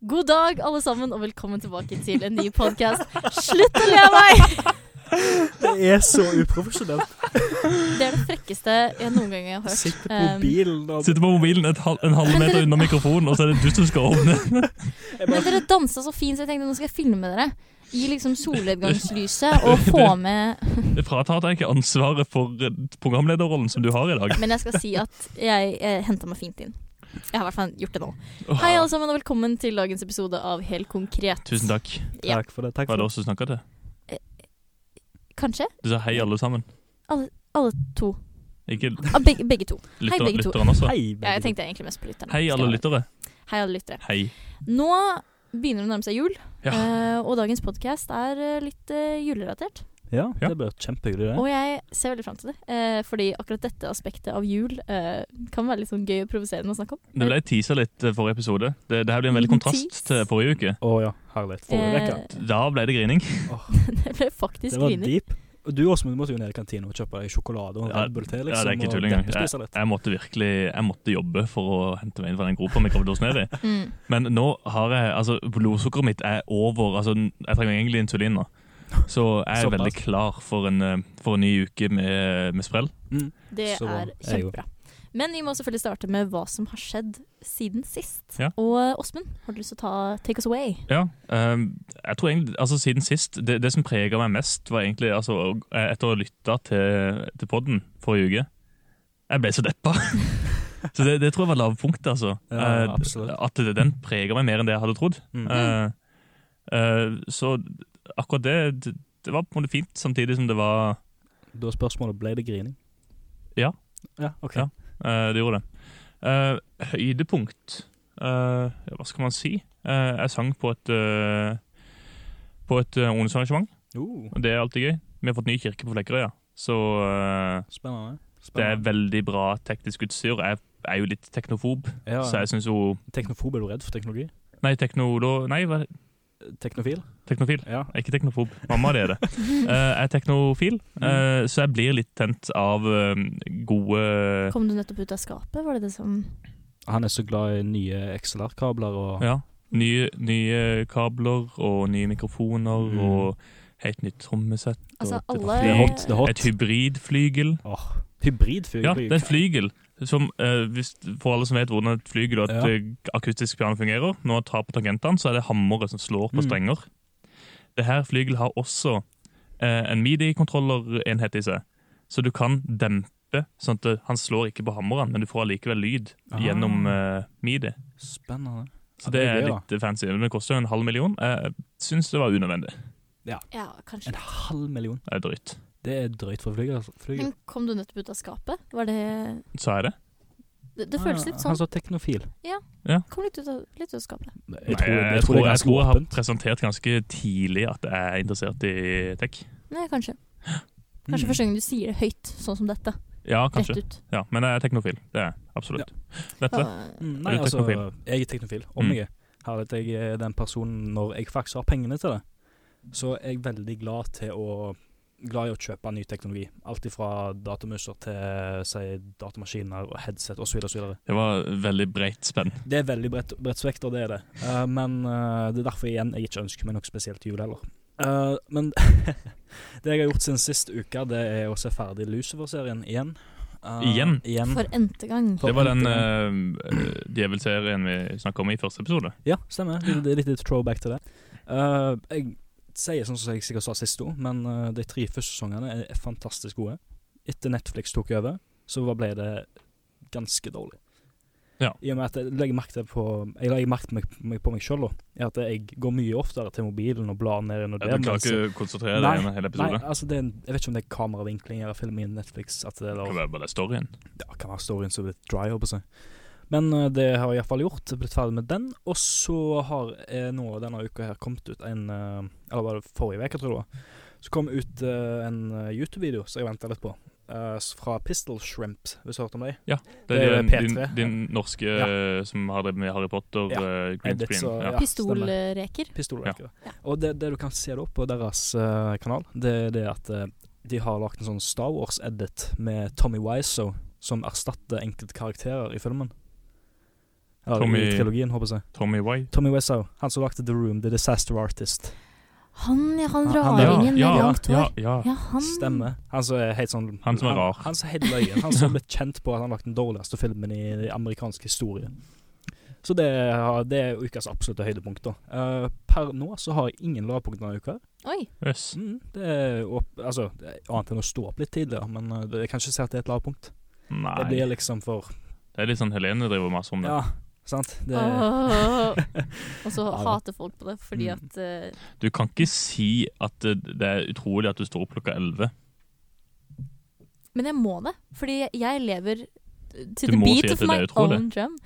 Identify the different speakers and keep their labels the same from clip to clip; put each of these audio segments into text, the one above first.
Speaker 1: God dag, alle sammen, og velkommen tilbake til en ny podkast. Slutt å le av meg!
Speaker 2: Det er så uprofesjonelt.
Speaker 1: Det er det frekkeste jeg noen gang har hørt.
Speaker 2: Sitter på
Speaker 1: Um,
Speaker 2: mobilen og
Speaker 3: Sitter på mobilen et halv, en halv
Speaker 1: Men
Speaker 3: meter
Speaker 1: dere-
Speaker 3: unna mikrofonen, og så er det du som skal åpne.
Speaker 2: jeg
Speaker 1: Men
Speaker 2: bare,
Speaker 1: dere dansa så fint, så jeg tenkte nå skal jeg filme dere. I liksom solnedgangslyset og få med
Speaker 3: Det fratar deg ikke ansvaret for eh, programlederrollen som du har i dag.
Speaker 1: Men jeg skal si at jeg, jeg henta meg fint inn. Jeg har i hvert fall gjort det nå.
Speaker 3: Åh,
Speaker 1: Hei, alle sammen, og velkommen til dagens episode av Helt konkret.
Speaker 3: Tusen takk.
Speaker 1: Ja.
Speaker 2: Takk for det. Takk
Speaker 3: Var
Speaker 2: for
Speaker 3: det
Speaker 2: det.
Speaker 3: oss som snakka til?
Speaker 1: Kanskje?
Speaker 3: Du sa hei, alle sammen.
Speaker 1: Alle to.
Speaker 3: Ikke
Speaker 1: Ah, begge, begge to.
Speaker 3: lytter,
Speaker 1: begge to.
Speaker 3: lytteren også.
Speaker 2: Hei,
Speaker 1: Ja, jeg
Speaker 2: begge
Speaker 1: tenkte egentlig mest på lytterne.
Speaker 3: Hei, alle lyttere.
Speaker 1: Hei, alle lyttere.
Speaker 3: Hei.
Speaker 1: Nå begynner det å nærme seg jul,
Speaker 3: Ja.
Speaker 1: eh, og dagens podkast er eh, litt eh, julerelatert.
Speaker 2: to. Ja,
Speaker 3: Ja.
Speaker 2: det blir kjempehyggelig, det.
Speaker 1: Og jeg ser veldig fram til det. Eh, fordi akkurat dette aspektet av jul eh, kan være litt sånn gøy og provoserende å snakke om.
Speaker 3: Det ble teasa litt eh, forrige episode. Det, det her blir en veldig
Speaker 1: Liten
Speaker 3: kontrast
Speaker 1: Mm, tease.
Speaker 3: til forrige uke.
Speaker 2: Å ja, herlig. Forrige
Speaker 1: Eh,
Speaker 2: uke.
Speaker 3: Da ble det grining.
Speaker 1: det ble
Speaker 2: Det
Speaker 1: faktisk
Speaker 2: var
Speaker 1: grining.
Speaker 2: deep. Og du Åsmund måtte jo ned i kantina og kjøpe deg sjokolade og en
Speaker 3: Ja,
Speaker 2: Red Bull til,
Speaker 3: ja,
Speaker 2: liksom.
Speaker 3: det er ikke
Speaker 2: og
Speaker 3: tull engang.
Speaker 2: deppespise litt.
Speaker 3: Jeg måtte virkelig jeg måtte jobbe for å hente meg inn fra den gropa med gravdåsen nedi.
Speaker 1: Mm.
Speaker 3: Men nå har jeg Altså, blodsukkeret mitt er over Altså, jeg trenger egentlig insulin nå. Så jeg er
Speaker 2: Såpass.
Speaker 3: veldig klar for en, eh, for en ny uke med, med sprell.
Speaker 2: Mm.
Speaker 1: Det
Speaker 2: Så bra.
Speaker 1: er
Speaker 2: Jeg går.
Speaker 1: kjempebra. Men vi må selvfølgelig starte med hva som har skjedd siden sist.
Speaker 3: Ja.
Speaker 1: Og eh, Åsmund, har du lyst til å ta take us away?
Speaker 3: Ja. ehm, jeg tror egentlig Altså, siden sist Det, det som prega meg mest, var egentlig altså, å- eh, Etter å ha lytta til, til podden forrige uke Jeg ble så deppa. så det, det tror jeg var lavpunktet, altså.
Speaker 2: Ja,
Speaker 3: Eh,
Speaker 2: absolutt.
Speaker 3: at det, den prega meg mer enn det jeg hadde trodd.
Speaker 2: Mm.
Speaker 3: Eh, eh, så akkurat det, det Det var på en måte fint, samtidig som det var
Speaker 2: Da er spørsmålet ble det grining.
Speaker 3: Ja.
Speaker 2: Ja, ok.
Speaker 3: Ja. Eh, det gjorde det. Eh, høydepunkt Eh, ja, Hva skal man si? Eh, jeg sang på et uh, På et eh, ungdomsarrangement,
Speaker 2: Oh,
Speaker 3: og det er alltid gøy. Vi har fått ny kirke på Flekkerøya, så eh,
Speaker 2: spennende.
Speaker 3: det er
Speaker 2: spennende.
Speaker 3: veldig bra teknisk utstyr. Jeg er jo litt teknofob,
Speaker 2: Ja,
Speaker 3: så jeg syns jo
Speaker 2: Teknofob, er du redd for teknologi?
Speaker 3: Nei, teknolo... Nei, hva?
Speaker 2: Teknofil?
Speaker 3: teknofil.
Speaker 2: Ja.
Speaker 3: Jeg er ikke teknofob. Mamma det er det. Eh, jeg er teknofil,
Speaker 2: Mm.
Speaker 3: eh, så jeg blir litt tent av eh, gode
Speaker 1: Kom du nettopp ut av skapet? Var det det som
Speaker 2: Han er så glad i nye XLR-kabler og
Speaker 3: Ja. Nye, nye kabler og nye mikrofoner
Speaker 2: Mm.
Speaker 3: og helt nytt trommesett.
Speaker 1: Altså,
Speaker 3: og et
Speaker 1: alle-
Speaker 2: Det er hot. Det er hot.
Speaker 3: Et hybridflygel.
Speaker 2: Hybridfugl.
Speaker 3: Ja, det er et flygel. Som, eh, hvis, for alle som vet hvordan et flygel og et
Speaker 2: Ja.
Speaker 3: eh, akustisk piano fungerer, når man tar på tangentene, så er det hammeret som slår på
Speaker 2: Mm.
Speaker 3: strenger. Det her flygelet har også eh, en midi-kontrollerenhet i seg, så du kan dempe sånn at eh, han slår ikke på hammeren, men du får allikevel lyd
Speaker 2: Ah.
Speaker 3: gjennom eh, midi.
Speaker 2: Spennende.
Speaker 3: Så det er
Speaker 2: gøy, da.
Speaker 3: litt fancy. Men det koster jo en halv million. Jeg syns det var unødvendig.
Speaker 1: Ja, kanskje.
Speaker 2: En halv million.
Speaker 3: Det er drøyt.
Speaker 2: Det er drøyt for flyger. altså. flyger.
Speaker 1: Men kom du nettopp ut av skapet? Var det
Speaker 3: Sa jeg det?
Speaker 1: Det, det føles litt sånn.
Speaker 2: Ah. Han sa teknofil.
Speaker 1: Kom litt ut av, litt ut av skapet.
Speaker 2: Jeg
Speaker 3: Nei,
Speaker 2: tror,
Speaker 3: jeg,
Speaker 2: jeg tror det er
Speaker 3: jeg
Speaker 2: ganske
Speaker 3: tror jeg har
Speaker 2: åpent.
Speaker 3: presentert ganske tidlig at jeg er interessert i tech.
Speaker 1: Nei, kanskje. Kanskje
Speaker 2: Mm.
Speaker 1: første gang du sier det høyt, sånn som dette.
Speaker 3: Ja, kanskje.
Speaker 1: Rett ut.
Speaker 3: Ja, men jeg er teknofil. Det er jeg. Absolutt. Dette.
Speaker 1: Ah,
Speaker 2: Mm, Nei,
Speaker 3: Er du
Speaker 2: altså,
Speaker 3: teknofil?
Speaker 2: jeg er teknofil. Om
Speaker 3: Mm.
Speaker 2: jeg er. Herlig at jeg er den personen når jeg faktisk har pengene til det. Så er jeg veldig glad til å Glad i å kjøpe ny teknologi. Alt ifra datamuser til si, datamaskiner og headset osv. videre
Speaker 3: Det var veldig breit spenn.
Speaker 2: Det er veldig bredt, bredt spekter, det er det. Eh, men eh, det er derfor igjen jeg ikke ønsker meg noe spesielt til jul heller. Eh, men det jeg har gjort siden sist uke, det er å se ferdig Lucifer-serien igjen. Eh,
Speaker 3: Igjen?
Speaker 1: For n-te gang.
Speaker 2: For
Speaker 3: Det var den
Speaker 2: endte gang.
Speaker 3: eh, djevelserien vi snakka om i første episode.
Speaker 2: Ja, stemmer. Det det er litt, litt throwback til det. Eh, jeg sier sånn som jeg sikkert sa sist òg, men eh, de tre første sesongene er, er fantastisk gode. Etter Netflix tok over, så var- ble det ganske dårlig.
Speaker 3: Ja.
Speaker 2: I og med at jeg legger merke til på Jeg legger merke til meg, meg på meg sjøl, da. Er at jeg går mye oftere til mobilen og blar ned under
Speaker 3: Jeg klarer
Speaker 2: mens-
Speaker 3: ikke å konsentrere
Speaker 2: Nei,
Speaker 3: deg gjennom hele
Speaker 2: Nei,
Speaker 3: episoden.
Speaker 2: altså det er en, jeg vet ikke om det er kameravinkling eller film i Netflix at det er
Speaker 3: Det
Speaker 2: der
Speaker 3: kan være bare det storyen.
Speaker 2: ja, kan være storyen som er litt dry, håper jeg. Men eh, det har jeg iallfall gjort. Blitt ferdig med den. Og så har eh, nå denne uka her kommet ut en eh, Eller var det forrige uke, tror jeg det var. Så kom ut eh, en eh, YouTube-video som jeg venta litt på. eh, s- fra Pistol Shrimp, hvis du har hørt om dem?
Speaker 3: Det
Speaker 2: Det
Speaker 3: er
Speaker 2: er
Speaker 3: din, din,
Speaker 2: P3.
Speaker 3: din norske eh, som har drevet med Harry Potter,
Speaker 2: Ja.
Speaker 3: eh, green
Speaker 2: Edit,
Speaker 3: screen.
Speaker 2: så-
Speaker 3: Ja.
Speaker 2: ja,
Speaker 1: Pistolreker.
Speaker 2: Pistolrekkere.
Speaker 1: eh, Ja.
Speaker 2: Og det, det du kan se da på deres eh, kanal, det er det at eh, de har lagt en sånn Star Wars-edit med Tommy Wiseau som erstatter enkelte karakterer i filmen. Eller i
Speaker 3: Tommy-
Speaker 2: trilogien, håper jeg.
Speaker 3: Tommy White.
Speaker 2: Tommy Wiseau, han som lagde The Room, The Disaster Artist.
Speaker 1: Han, ja, han
Speaker 2: Han- han- ja,
Speaker 1: raringen med langt hår.
Speaker 3: ja,
Speaker 1: Ja,
Speaker 3: ja.
Speaker 1: han
Speaker 2: Stemmer. Han som er helt sånn
Speaker 3: Han som er rar.
Speaker 2: Han, han som er helt løyen. Han som ble kjent på at han lagde den dårligste filmen i i amerikansk historie. Så det, har- det er ukas absolutte høydepunkt, da. Eh, per nå så har jeg ingen lavpunkt denne uka.
Speaker 1: Oi.
Speaker 3: Yes.
Speaker 2: Mm, det er åp altså, det er annet enn å stå opp litt tidligere, men eh, det, jeg kan ikke si at det er et lavpunkt.
Speaker 3: Nei.
Speaker 2: Det blir liksom for
Speaker 3: Det er litt sånn Helene driver masse om det.
Speaker 2: Ja, sant? Det,
Speaker 1: Åh. Og så
Speaker 2: Ja, da.
Speaker 1: hater folk på det fordi
Speaker 2: Mm.
Speaker 1: at eh,
Speaker 3: Du kan ikke si at eh, det er utrolig at du står opp klokka 11.
Speaker 1: Men jeg må det, fordi jeg lever to
Speaker 3: Du
Speaker 1: the
Speaker 3: må
Speaker 1: beat
Speaker 3: si at
Speaker 1: of
Speaker 3: det er
Speaker 1: my
Speaker 3: utrolig.
Speaker 1: own drum.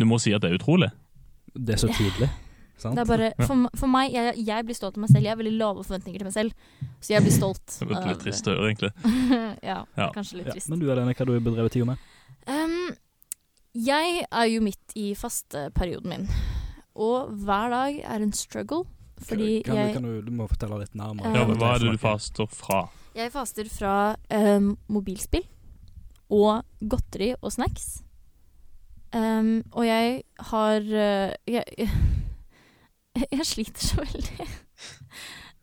Speaker 3: Du må si at det er utrolig.
Speaker 2: det er så tydelig. Sant?
Speaker 1: Det er bare, for, for meg, jeg, jeg blir stolt av meg selv. Jeg har veldig lave forventninger til meg selv, så jeg blir stolt.
Speaker 3: Det er litt trist å høre, egentlig.
Speaker 1: ja, det
Speaker 3: Ja.
Speaker 1: er kanskje litt
Speaker 2: ja,
Speaker 1: trist.
Speaker 2: men du Helene, hva har du bedrevet tida med?
Speaker 1: Um, jeg er jo midt i fasteperioden min, og hver dag er en struggle. Fordi
Speaker 2: kan,
Speaker 1: jeg,
Speaker 2: du, kan du, du må fortelle litt nærmere.
Speaker 3: Ja,
Speaker 1: Eh,
Speaker 3: Hva er det du faster fra?
Speaker 1: jeg faster fra um, mobilspill og godteri og snacks. Um, og jeg har uh, jeg, jeg sliter så veldig.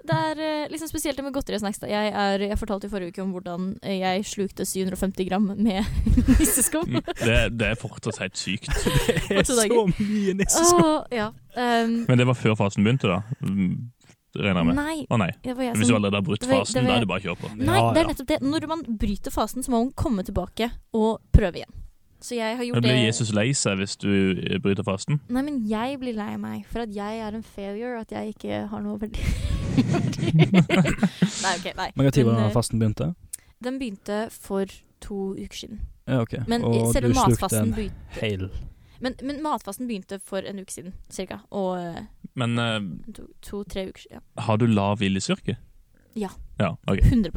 Speaker 1: Det er eh, liksom spesielt det med godteri og snacks. Da. Jeg, er, jeg fortalte i forrige uke om hvordan eh, jeg slukte 750 gram med nisseskum.
Speaker 3: Mm, Det, det er fortsatt helt sykt.
Speaker 2: Det er
Speaker 1: Åtte
Speaker 2: så
Speaker 1: dager.
Speaker 2: mye nisseskum!
Speaker 1: Åh, ja. Um,
Speaker 3: Men det var før fasen begynte, da. Mm, Regner jeg med.
Speaker 1: nei,
Speaker 3: Å nei.
Speaker 1: det var jeg
Speaker 3: Hvis du
Speaker 1: som
Speaker 3: allerede har brutt
Speaker 1: det var- det
Speaker 3: fasen, da
Speaker 1: var-
Speaker 3: er det bare å kjøre på.
Speaker 1: Nei,
Speaker 2: Ja,
Speaker 1: det er
Speaker 2: ja.
Speaker 1: nettopp det. Når man bryter fasen, så må man komme tilbake og prøve igjen. Så jeg har
Speaker 3: Da
Speaker 1: gjort
Speaker 3: blir
Speaker 1: det
Speaker 3: Jesus lei seg hvis du eh, bryter fasten.
Speaker 1: Nei, men jeg blir lei meg for at jeg er en failure, og at jeg ikke har noe verdi. nei, ok, nei.
Speaker 2: Men når var
Speaker 1: Men,
Speaker 2: denne
Speaker 1: eh,
Speaker 2: fasten begynte?
Speaker 1: Den begynte for to uker siden.
Speaker 2: Ja, ok.
Speaker 1: Men eh,
Speaker 2: Og
Speaker 1: selve
Speaker 2: du slukte
Speaker 1: matfasten
Speaker 2: en
Speaker 1: begynte
Speaker 2: hel
Speaker 1: men, men matfasten begynte for en uke siden, cirka. Og eh,
Speaker 3: Men eh,
Speaker 1: to- to-tre uker siden. Ja.
Speaker 3: har du lav viljestyrke?
Speaker 1: Ja.
Speaker 3: Ja, ok.
Speaker 1: 100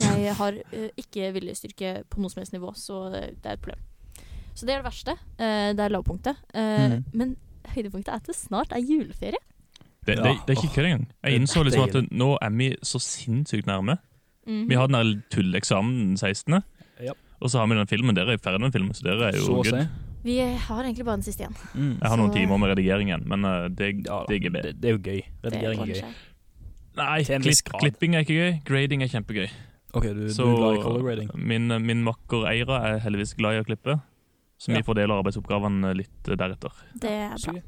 Speaker 1: Jeg har eh, ikke viljestyrke på noe som helst nivå, så eh, det er et problem. Så det er det verste. Eh, det er lavpunktet. Eh,
Speaker 2: Mhm.
Speaker 1: Men høydepunktet er at det snart er juleferie.
Speaker 3: Det, det, det er ikke kødd engang. Jeg innså liksom at nå er vi så sinnssykt nærme. Vi har den der tulleksamen den 16.
Speaker 2: Ja.
Speaker 3: Og så har vi den filmen. Dere er jo ferdig med den filmen, så dere er jo
Speaker 2: så å
Speaker 3: good.
Speaker 2: si.
Speaker 1: Vi har egentlig bare den siste igjen.
Speaker 2: eh? Mm.
Speaker 3: Jeg har noen
Speaker 1: Så-
Speaker 3: timer med redigering igjen, men eh, det
Speaker 2: Ja, da.
Speaker 3: digger vi.
Speaker 2: det, det er jo gøy. Redigering er
Speaker 1: ordner
Speaker 2: gøy.
Speaker 1: seg.
Speaker 3: Nei,
Speaker 2: Til en
Speaker 3: klipp-
Speaker 2: viss grad.
Speaker 3: klipping er ikke gøy. Grading er kjempegøy.
Speaker 2: OK, du,
Speaker 3: Så
Speaker 2: du la i color grading.
Speaker 3: min, eh, min makker Eira er heldigvis glad i å klippe, så
Speaker 2: Ja.
Speaker 3: vi fordeler arbeidsoppgavene litt eh, deretter.
Speaker 1: Det er bra.
Speaker 2: Så gøy.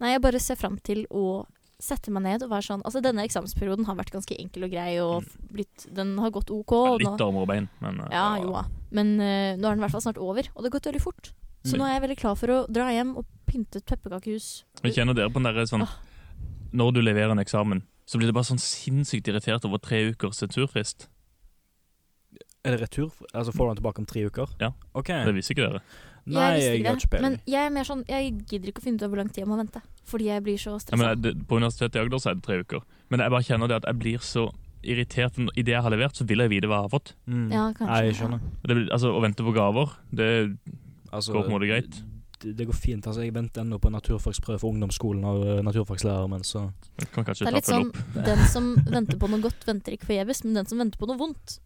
Speaker 1: Nei, jeg bare ser fram til å sette meg ned og være sånn Altså, denne eksamensperioden har vært ganske enkel og grei, og
Speaker 2: Mm.
Speaker 1: blitt, den har gått OK. og nå-
Speaker 3: Litt armer og bein, men eh,
Speaker 1: Ja, jo da. Men eh, nå er den i hvert fall snart over, og det har gått veldig fort. Så
Speaker 2: Mm.
Speaker 1: nå er jeg veldig klar for å dra hjem og pynte et pepperkakehus.
Speaker 3: Jeg kjenner dere på den der sånn
Speaker 1: Ah.
Speaker 3: Når du leverer en eksamen, så blir det bare sånn sinnssykt irritert over tre ukers returfrist.
Speaker 2: Er det retur? Altså Får du den tilbake om tre uker?
Speaker 3: Ja.
Speaker 2: OK.
Speaker 3: Det visste ikke dere.
Speaker 2: Nei,
Speaker 1: visste
Speaker 2: jeg
Speaker 1: ikke
Speaker 2: har
Speaker 1: det,
Speaker 2: ikke peiling.
Speaker 1: Men jeg er mer sånn, jeg gidder ikke å finne ut av hvor lang tid jeg må vente. Fordi jeg blir så
Speaker 3: Ja,
Speaker 1: stressa.
Speaker 3: men det, på Universitetet i Agder så er det tre uker. Men jeg bare kjenner det at jeg blir så irritert. for Idet jeg har levert, så vil jeg vite hva jeg har fått.
Speaker 2: Mm.
Speaker 1: Ja, kanskje,
Speaker 2: Nei, jeg
Speaker 1: ja.
Speaker 2: skjønner.
Speaker 3: Det blir, altså, Å vente på gaver det,
Speaker 2: Altså,
Speaker 3: Går på en måte greit?
Speaker 2: Det, det går fint. Altså, jeg venter ennå på naturfagsprøve for ungdomsskolen av eh, naturfagslærer, men så
Speaker 3: jeg kan
Speaker 1: Det
Speaker 3: kanskje
Speaker 1: er
Speaker 3: ta
Speaker 1: litt
Speaker 3: følge
Speaker 1: sånn
Speaker 3: opp.
Speaker 1: den som venter på noe godt, venter ikke forgjeves. Men den som venter på noe vondt,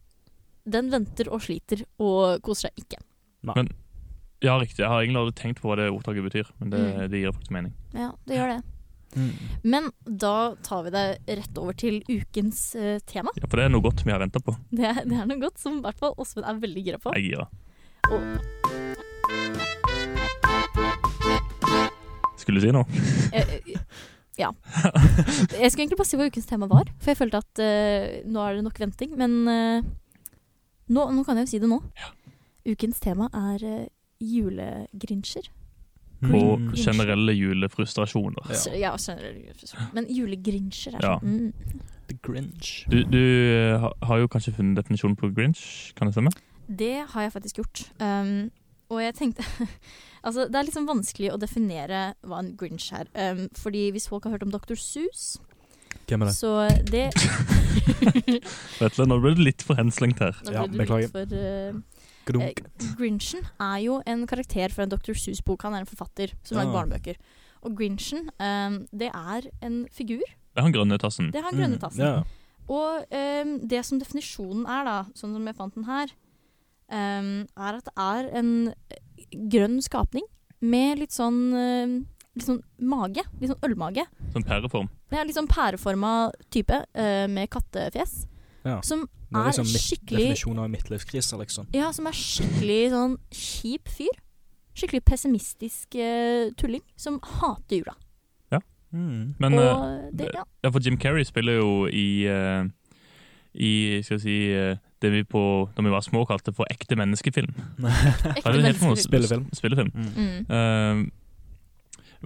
Speaker 1: den venter og sliter og koser seg ikke.
Speaker 3: Ja, riktig. Jeg har egentlig aldri tenkt på hva det ordtaket betyr, men det,
Speaker 1: Mm.
Speaker 3: det gir faktisk mening.
Speaker 1: Ja, det gjør det.
Speaker 2: Mm.
Speaker 1: Men da tar vi det rett over til ukens eh, tema.
Speaker 3: Ja, For det er noe godt vi har venta på.
Speaker 1: Det er, det er noe godt som i hvert fall Åsmund er veldig gira på.
Speaker 3: Jeg er gira. Skulle du si noe?
Speaker 1: Eh, eh, ja. Jeg skulle egentlig bare si hva ukens tema var, for jeg følte at eh, nå er det nok venting. Men eh, nå, nå kan jeg jo si det nå. Ukens tema er uh, julegrinsjer.
Speaker 3: Og
Speaker 2: Mm.
Speaker 3: generelle julefrustrasjoner.
Speaker 1: Så- Altså, Ja, generelt. Men julegrinsjer er
Speaker 3: Ja.
Speaker 1: sånn mm.
Speaker 2: The Grinch.
Speaker 3: Du, du eh, ha- har jo kanskje funnet definisjonen på Grinch, kan det stemme?
Speaker 1: Det har jeg faktisk gjort. Um, og jeg tenkte Altså, det er liksom vanskelig å definere hva en grinch er. Um, fordi hvis folk har hørt om Dr. Sus,
Speaker 2: Hvem er det?
Speaker 1: så det
Speaker 3: Vet du, Nå ble det litt for henslengt her.
Speaker 1: Nå
Speaker 2: Ja,
Speaker 1: ble det litt
Speaker 2: beklager.
Speaker 1: For, eh,
Speaker 2: Gronk.
Speaker 1: Grinchen er jo en karakter fra en Dr. Seuss-bok. Han er en forfatter som
Speaker 2: Ja.
Speaker 1: lager barnebøker. Og Grinchen, eh, det er en figur.
Speaker 3: Det er han grønne tassen.
Speaker 1: Det er han grønne
Speaker 2: Mm,
Speaker 1: tassen.
Speaker 2: Ja.
Speaker 1: Og eh, det som definisjonen er, da, sånn ehm, som jeg fant den her, eh, er at det er en grønn skapning med litt sånn, eh, litt sånn mage. Litt sånn ølmage.
Speaker 3: Sånn pæreform.
Speaker 1: Ja, litt sånn pæreforma type eh, med kattefjes.
Speaker 2: Ja.
Speaker 1: Som
Speaker 2: Det er
Speaker 1: er
Speaker 2: liksom mitt
Speaker 1: skikkelig
Speaker 2: definisjon av midtlivskrise, liksom.
Speaker 1: Ja, som er skikkelig sånn kjip fyr. Skikkelig pessimistisk eh, tulling som hater jula.
Speaker 2: Mm.
Speaker 3: Men eh,
Speaker 1: og det, ja.
Speaker 3: ja, for Jim Carrey spiller jo i eh, I skal vi si eh, det vi på, da vi var små kalte for ekte menneskefilm. Hva
Speaker 1: Ekte
Speaker 3: er det det heter for noe?
Speaker 1: menneskefyr.
Speaker 2: Spillefilm.
Speaker 3: Spillefilm.
Speaker 2: Mm.
Speaker 1: Mm.
Speaker 3: Eh,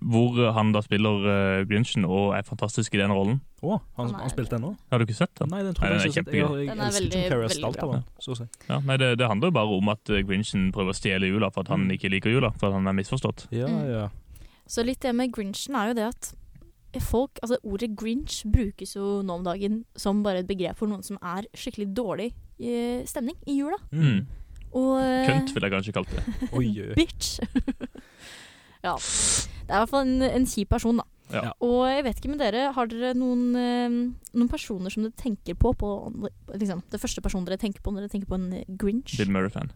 Speaker 3: hvor han da spiller eh, Grinchen og er fantastisk i den rollen.
Speaker 2: Å, han,
Speaker 1: Han er-
Speaker 2: han spilte den nå?
Speaker 3: Har du ikke sett den?
Speaker 2: Nei, den
Speaker 3: Nei,
Speaker 2: tror jeg
Speaker 3: den er
Speaker 2: ikke. Jeg, jeg,
Speaker 1: Den
Speaker 2: jeg, jeg
Speaker 1: er
Speaker 2: elsker
Speaker 1: veldig-
Speaker 2: Jim Carrey, jeg er
Speaker 1: veldig
Speaker 2: stolt av
Speaker 1: bra.
Speaker 2: han, så å si.
Speaker 3: Ja, nei, det, det handler jo bare om at eh, Grinchen prøver å stjele jula for at han
Speaker 2: Mm.
Speaker 3: ikke liker jula. For at han er misforstått.
Speaker 2: Ja,
Speaker 1: Mm.
Speaker 2: ja.
Speaker 1: Så litt det med grinchen er jo det at folk Altså ordet grinch brukes jo nå om dagen som bare et begrep for noen som er skikkelig dårlig eh, stemning i jula.
Speaker 2: Mm.
Speaker 3: Mm.
Speaker 1: Og eh,
Speaker 3: Kønt, vil jeg kanskje kalt det.
Speaker 2: Oi, oi.
Speaker 1: Bitch. ja. Det er i hvert fall en, en kjip person, da.
Speaker 3: Ja.
Speaker 1: Og jeg vet ikke med dere, har dere noen, eh, noen personer som dere tenker på, på liksom, Det første personen dere tenker på når dere tenker på en eh, grinch?
Speaker 3: Bill Murray-fan.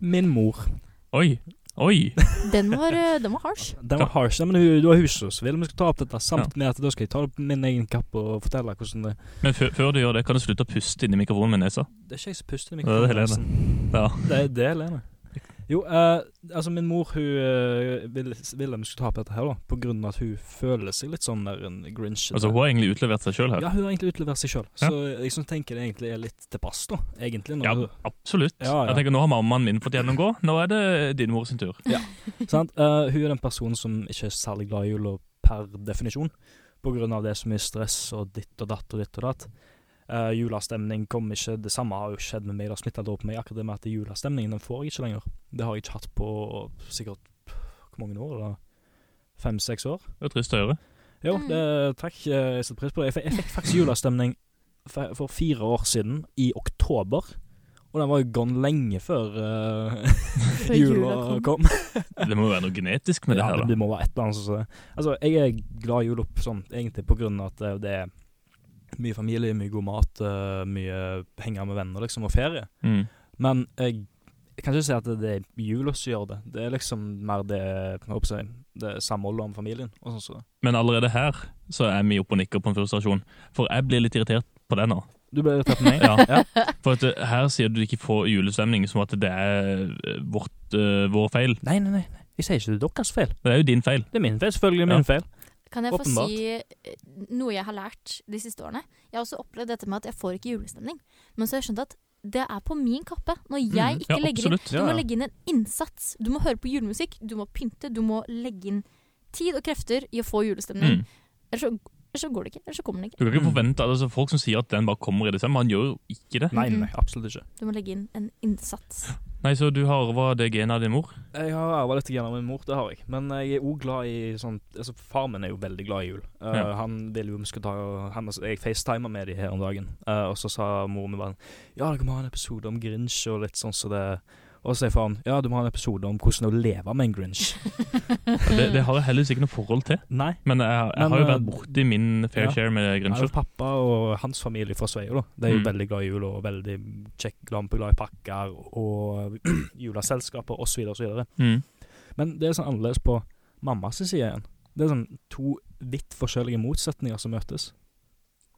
Speaker 2: Min mor.
Speaker 3: Oi! Oi!
Speaker 1: Den var, eh, den var harsh.
Speaker 2: Den var harsh. Nei, men hun, du har huset, så vil vi skal ta opp dette. Samt med at da skal jeg ta opp min egen kappe og fortelle hvordan det
Speaker 3: Men før, før du gjør det, kan du slutte å puste inn i mikrofonen med nesa?
Speaker 2: Det er ikke jeg som puster i
Speaker 3: Det er Helene. Ja.
Speaker 2: Det er det, Lene. Jo, eh, altså min mor hun eh, ville vil vi skulle ta opp dette her, da. På grunn av at hun føler seg litt sånn der en grinch.
Speaker 3: Altså, hun har egentlig utlevert seg sjøl her.
Speaker 2: ja, hun har egentlig utlevert seg sjøl, så jeg synes, tenker det egentlig er litt til pass, da. Egentlig. Når
Speaker 3: Ja,
Speaker 2: hun,
Speaker 3: absolutt.
Speaker 2: Ja, ja.
Speaker 3: Jeg tenker, Nå har mammaen min fått gjennomgå, nå er det din mor sin tur.
Speaker 2: sant? Eh, hun er den personen som ikke er særlig glad i jula per definisjon, på grunn av det er så mye stress og ditt og datt og ditt og datt. Eh, julastemning kom ikke Det samme har jo skjedd med meg, det har smitta over på meg. Akkurat det med at julastemningen den får jeg ikke lenger. Det har jeg ikke hatt på sikkert hvor mange år? da? Fem-seks år?
Speaker 3: Det er trist å høre.
Speaker 2: Jo,
Speaker 1: Mm.
Speaker 2: det, takk. eh, Jeg setter pris på det. Jeg fikk, jeg fikk faktisk julestemning fe- for fire år siden, i oktober. Og den var jo gone lenge før eh,
Speaker 1: Før
Speaker 2: jula kom.
Speaker 3: Det må jo være noe genetisk med det
Speaker 2: ja,
Speaker 3: her, da.
Speaker 2: det må være et eller annet som Altså, jeg er glad i jul opp sånn, egentlig på grunn av at eh, det er mye familie, mye god mat, eh, mye henger med venner, liksom, og ferie.
Speaker 3: Mm.
Speaker 2: Men jeg, jeg kan ikke si at det er jula som gjør det. Det er liksom mer det, jeg håper jeg, det samholdet om familien og sånn. Så.
Speaker 3: Men allerede her så er vi oppe og nikker på en frustrasjon. For jeg blir litt irritert på det nå.
Speaker 2: Du ble irritert på meg?
Speaker 3: Ja. For at eh, her sier du ikke får julestemning som at det er eh, vårt, eh, vår feil.
Speaker 2: Nei, nei, nei. Jeg sier ikke det er deres feil.
Speaker 3: Det er jo din feil.
Speaker 2: Det er min feil. Selvfølgelig er
Speaker 3: Ja.
Speaker 2: min feil.
Speaker 1: Kan jeg få
Speaker 2: Åpenbart.
Speaker 1: si eh, noe jeg har lært de siste årene? Jeg har også opplevd dette med at jeg får ikke julestemning. Men så har jeg skjønt at det er på min kappe. Når jeg ikke
Speaker 3: Mm. Ja,
Speaker 1: legger inn
Speaker 3: absolutt.
Speaker 1: Du
Speaker 2: Ja,
Speaker 1: må
Speaker 2: ja.
Speaker 1: legge inn en innsats. Du må høre på julemusikk, du må pynte, du må legge inn tid og krefter i å få julestemning.
Speaker 3: Mm.
Speaker 1: Ellers, så, ellers så går det ikke. Ellers så kommer den ikke.
Speaker 3: Du kan ikke
Speaker 2: Mm.
Speaker 3: forvente at altså, folk som sier at den bare kommer i desember, han gjør jo ikke det.
Speaker 2: Nei, nei, absolutt ikke.
Speaker 1: Du må legge inn en innsats.
Speaker 3: Nei, så du har arva det genet av din mor?
Speaker 2: Jeg har arva litt grann av min mor, det har jeg. Men jeg er òg glad i sånn altså, Far min er jo veldig glad i jul. Eh,
Speaker 3: Ja.
Speaker 2: Han ville jo vi skulle ta han, Jeg facetima med de her om dagen, Eh, og så sa mor mi bare Ja, dere må ha en episode om Grinch og litt sånn som det. Og så sier faren ja, du må ha en episode om hvordan å leve med en Grinch.
Speaker 3: Ja, Det, det har jeg heldigvis ikke noe forhold til.
Speaker 2: Nei.
Speaker 3: Men jeg, jeg
Speaker 2: Men,
Speaker 3: har jo
Speaker 2: eh,
Speaker 3: vært borti min fair
Speaker 2: ja.
Speaker 3: share med
Speaker 2: Ja,
Speaker 3: Grincher.
Speaker 2: pappa og hans familie fra Sveio, da. De er jo
Speaker 3: Mm.
Speaker 2: veldig glad i jul og veldig kjekk, glad, glad i pakker og juleselskaper osv. osv.
Speaker 3: Mm.
Speaker 2: Men det er sånn annerledes på mammas side igjen. Det er sånn to vidt forskjellige motsetninger som møtes.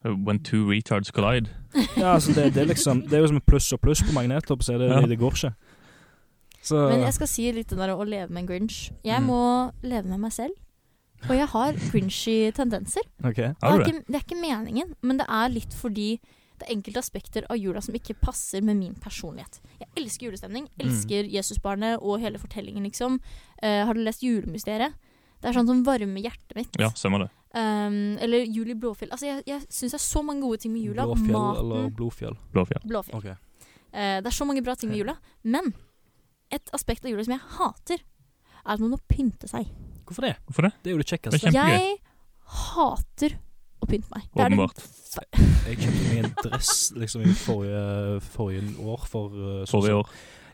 Speaker 3: Mm. When two retards collide.
Speaker 2: Ja, altså det, det er liksom Det er jo som en pluss og pluss på magnet, så er det,
Speaker 3: Ja.
Speaker 2: det går ikke. Så
Speaker 1: Men jeg skal si litt det der å leve med en grinch. Jeg
Speaker 2: Mm.
Speaker 1: må leve med meg selv. Og jeg har grinchy tendenser.
Speaker 2: OK.
Speaker 3: Har
Speaker 1: Det
Speaker 3: du
Speaker 1: er,
Speaker 3: det?
Speaker 1: ikke, det er ikke meningen, men det er litt fordi det er enkelte aspekter av jula som ikke passer med min personlighet. Jeg elsker
Speaker 3: Mm.
Speaker 1: julestemning, elsker Jesusbarnet og hele fortellingen, liksom. Eh, har du lest Julemysteriet? Det er sånn som varmer hjertet mitt.
Speaker 3: Ja, stemmer det.
Speaker 1: Um, eller Jul i Blåfjell. Altså, jeg, jeg syns det er så mange gode ting med jula.
Speaker 2: Blåfjell
Speaker 1: Maten,
Speaker 2: eller Blodfjell.
Speaker 3: Blåfjell.
Speaker 1: Blåfjell.
Speaker 2: OK.
Speaker 1: Eh, det er så mange bra ting med jula. Men et aspekt av jula som jeg hater, er at man må pynte seg.
Speaker 2: Hvorfor det?
Speaker 3: Hvorfor det?
Speaker 2: Det er jo det
Speaker 3: Det er
Speaker 2: kjekkeste.
Speaker 3: kjempe- Kjempegøy.
Speaker 1: Jeg hater å pynte meg. Det er det
Speaker 3: Åpenbart.
Speaker 2: Jeg kjøpte meg en dress liksom i forrige, forrige år for uh, så-
Speaker 3: Forrige år.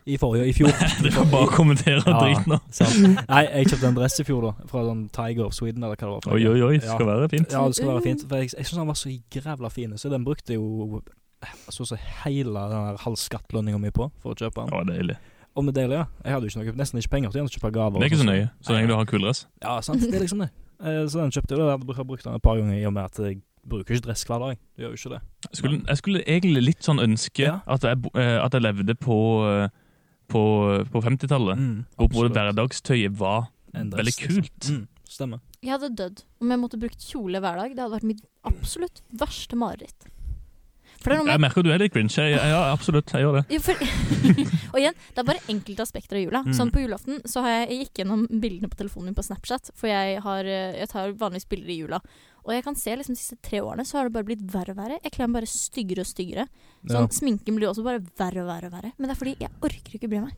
Speaker 2: I forrige, i fjor.
Speaker 3: Du kan bare kommentere
Speaker 2: Ja.
Speaker 3: drit nå.
Speaker 2: Sant. Nei, jeg kjøpte en dress i fjor, da. Fra sånn Tiger of Sweden, eller hva det var. for
Speaker 3: Oi,
Speaker 2: noe.
Speaker 3: oi, oi.
Speaker 2: Ja.
Speaker 3: Skal være fint.
Speaker 2: Ja, det skal
Speaker 1: Mm.
Speaker 2: være fint. For jeg, jeg syns han var så grævla fin, så den brukte jeg jo eh, så å si hele den der halv skattlønninga mi på for å kjøpe den.
Speaker 3: Å, deilig.
Speaker 2: Om det er deilig, ja. Jeg hadde jo ikke noe, nesten ikke penger til den, å kjøpe gaver.
Speaker 3: Det er ikke så
Speaker 2: og sånn.
Speaker 3: nøye, så lenge du har kul dress.
Speaker 2: Ja, sant. Det er liksom det. Eh, Så den kjøpte jeg, og jeg hadde brukt- har brukt den et par ganger i og med at jeg bruker ikke dress hver dag. Du gjør jo ikke det.
Speaker 3: Jeg skulle, jeg skulle egentlig litt sånn ønske
Speaker 2: Ja.
Speaker 3: at, jeg, bo- eh, at jeg levde på, eh, på, på 50-tallet.
Speaker 2: Mm,
Speaker 3: Hvor både
Speaker 2: absolutt.
Speaker 3: hverdagstøyet var
Speaker 2: En dress,
Speaker 3: veldig
Speaker 2: liksom.
Speaker 3: kult.
Speaker 2: Mm, stemmer.
Speaker 1: Jeg hadde dødd om jeg måtte brukt kjole hver dag. Det hadde vært mitt absolutt verste mareritt. For det er noe med
Speaker 3: Jeg merker du er litt grinch. Jeg, jeg, ja, absolutt. Jeg gjør det.
Speaker 1: Jo, for, og igjen, det er bare enkelte aspekter av jula.
Speaker 2: Mm.
Speaker 1: Sånn På julaften så har jeg, jeg gikk gjennom bildene på telefonen min på Snapchat. For jeg, har, eh, jeg tar vanligvis bilder i jula. Og jeg kan se liksom de siste tre årene så har det bare blitt verre og verre. Jeg kler meg bare styggere og styggere. Sånn, Sminken blir også bare verre og verre. og verre Men det er fordi jeg orker ikke bry meg.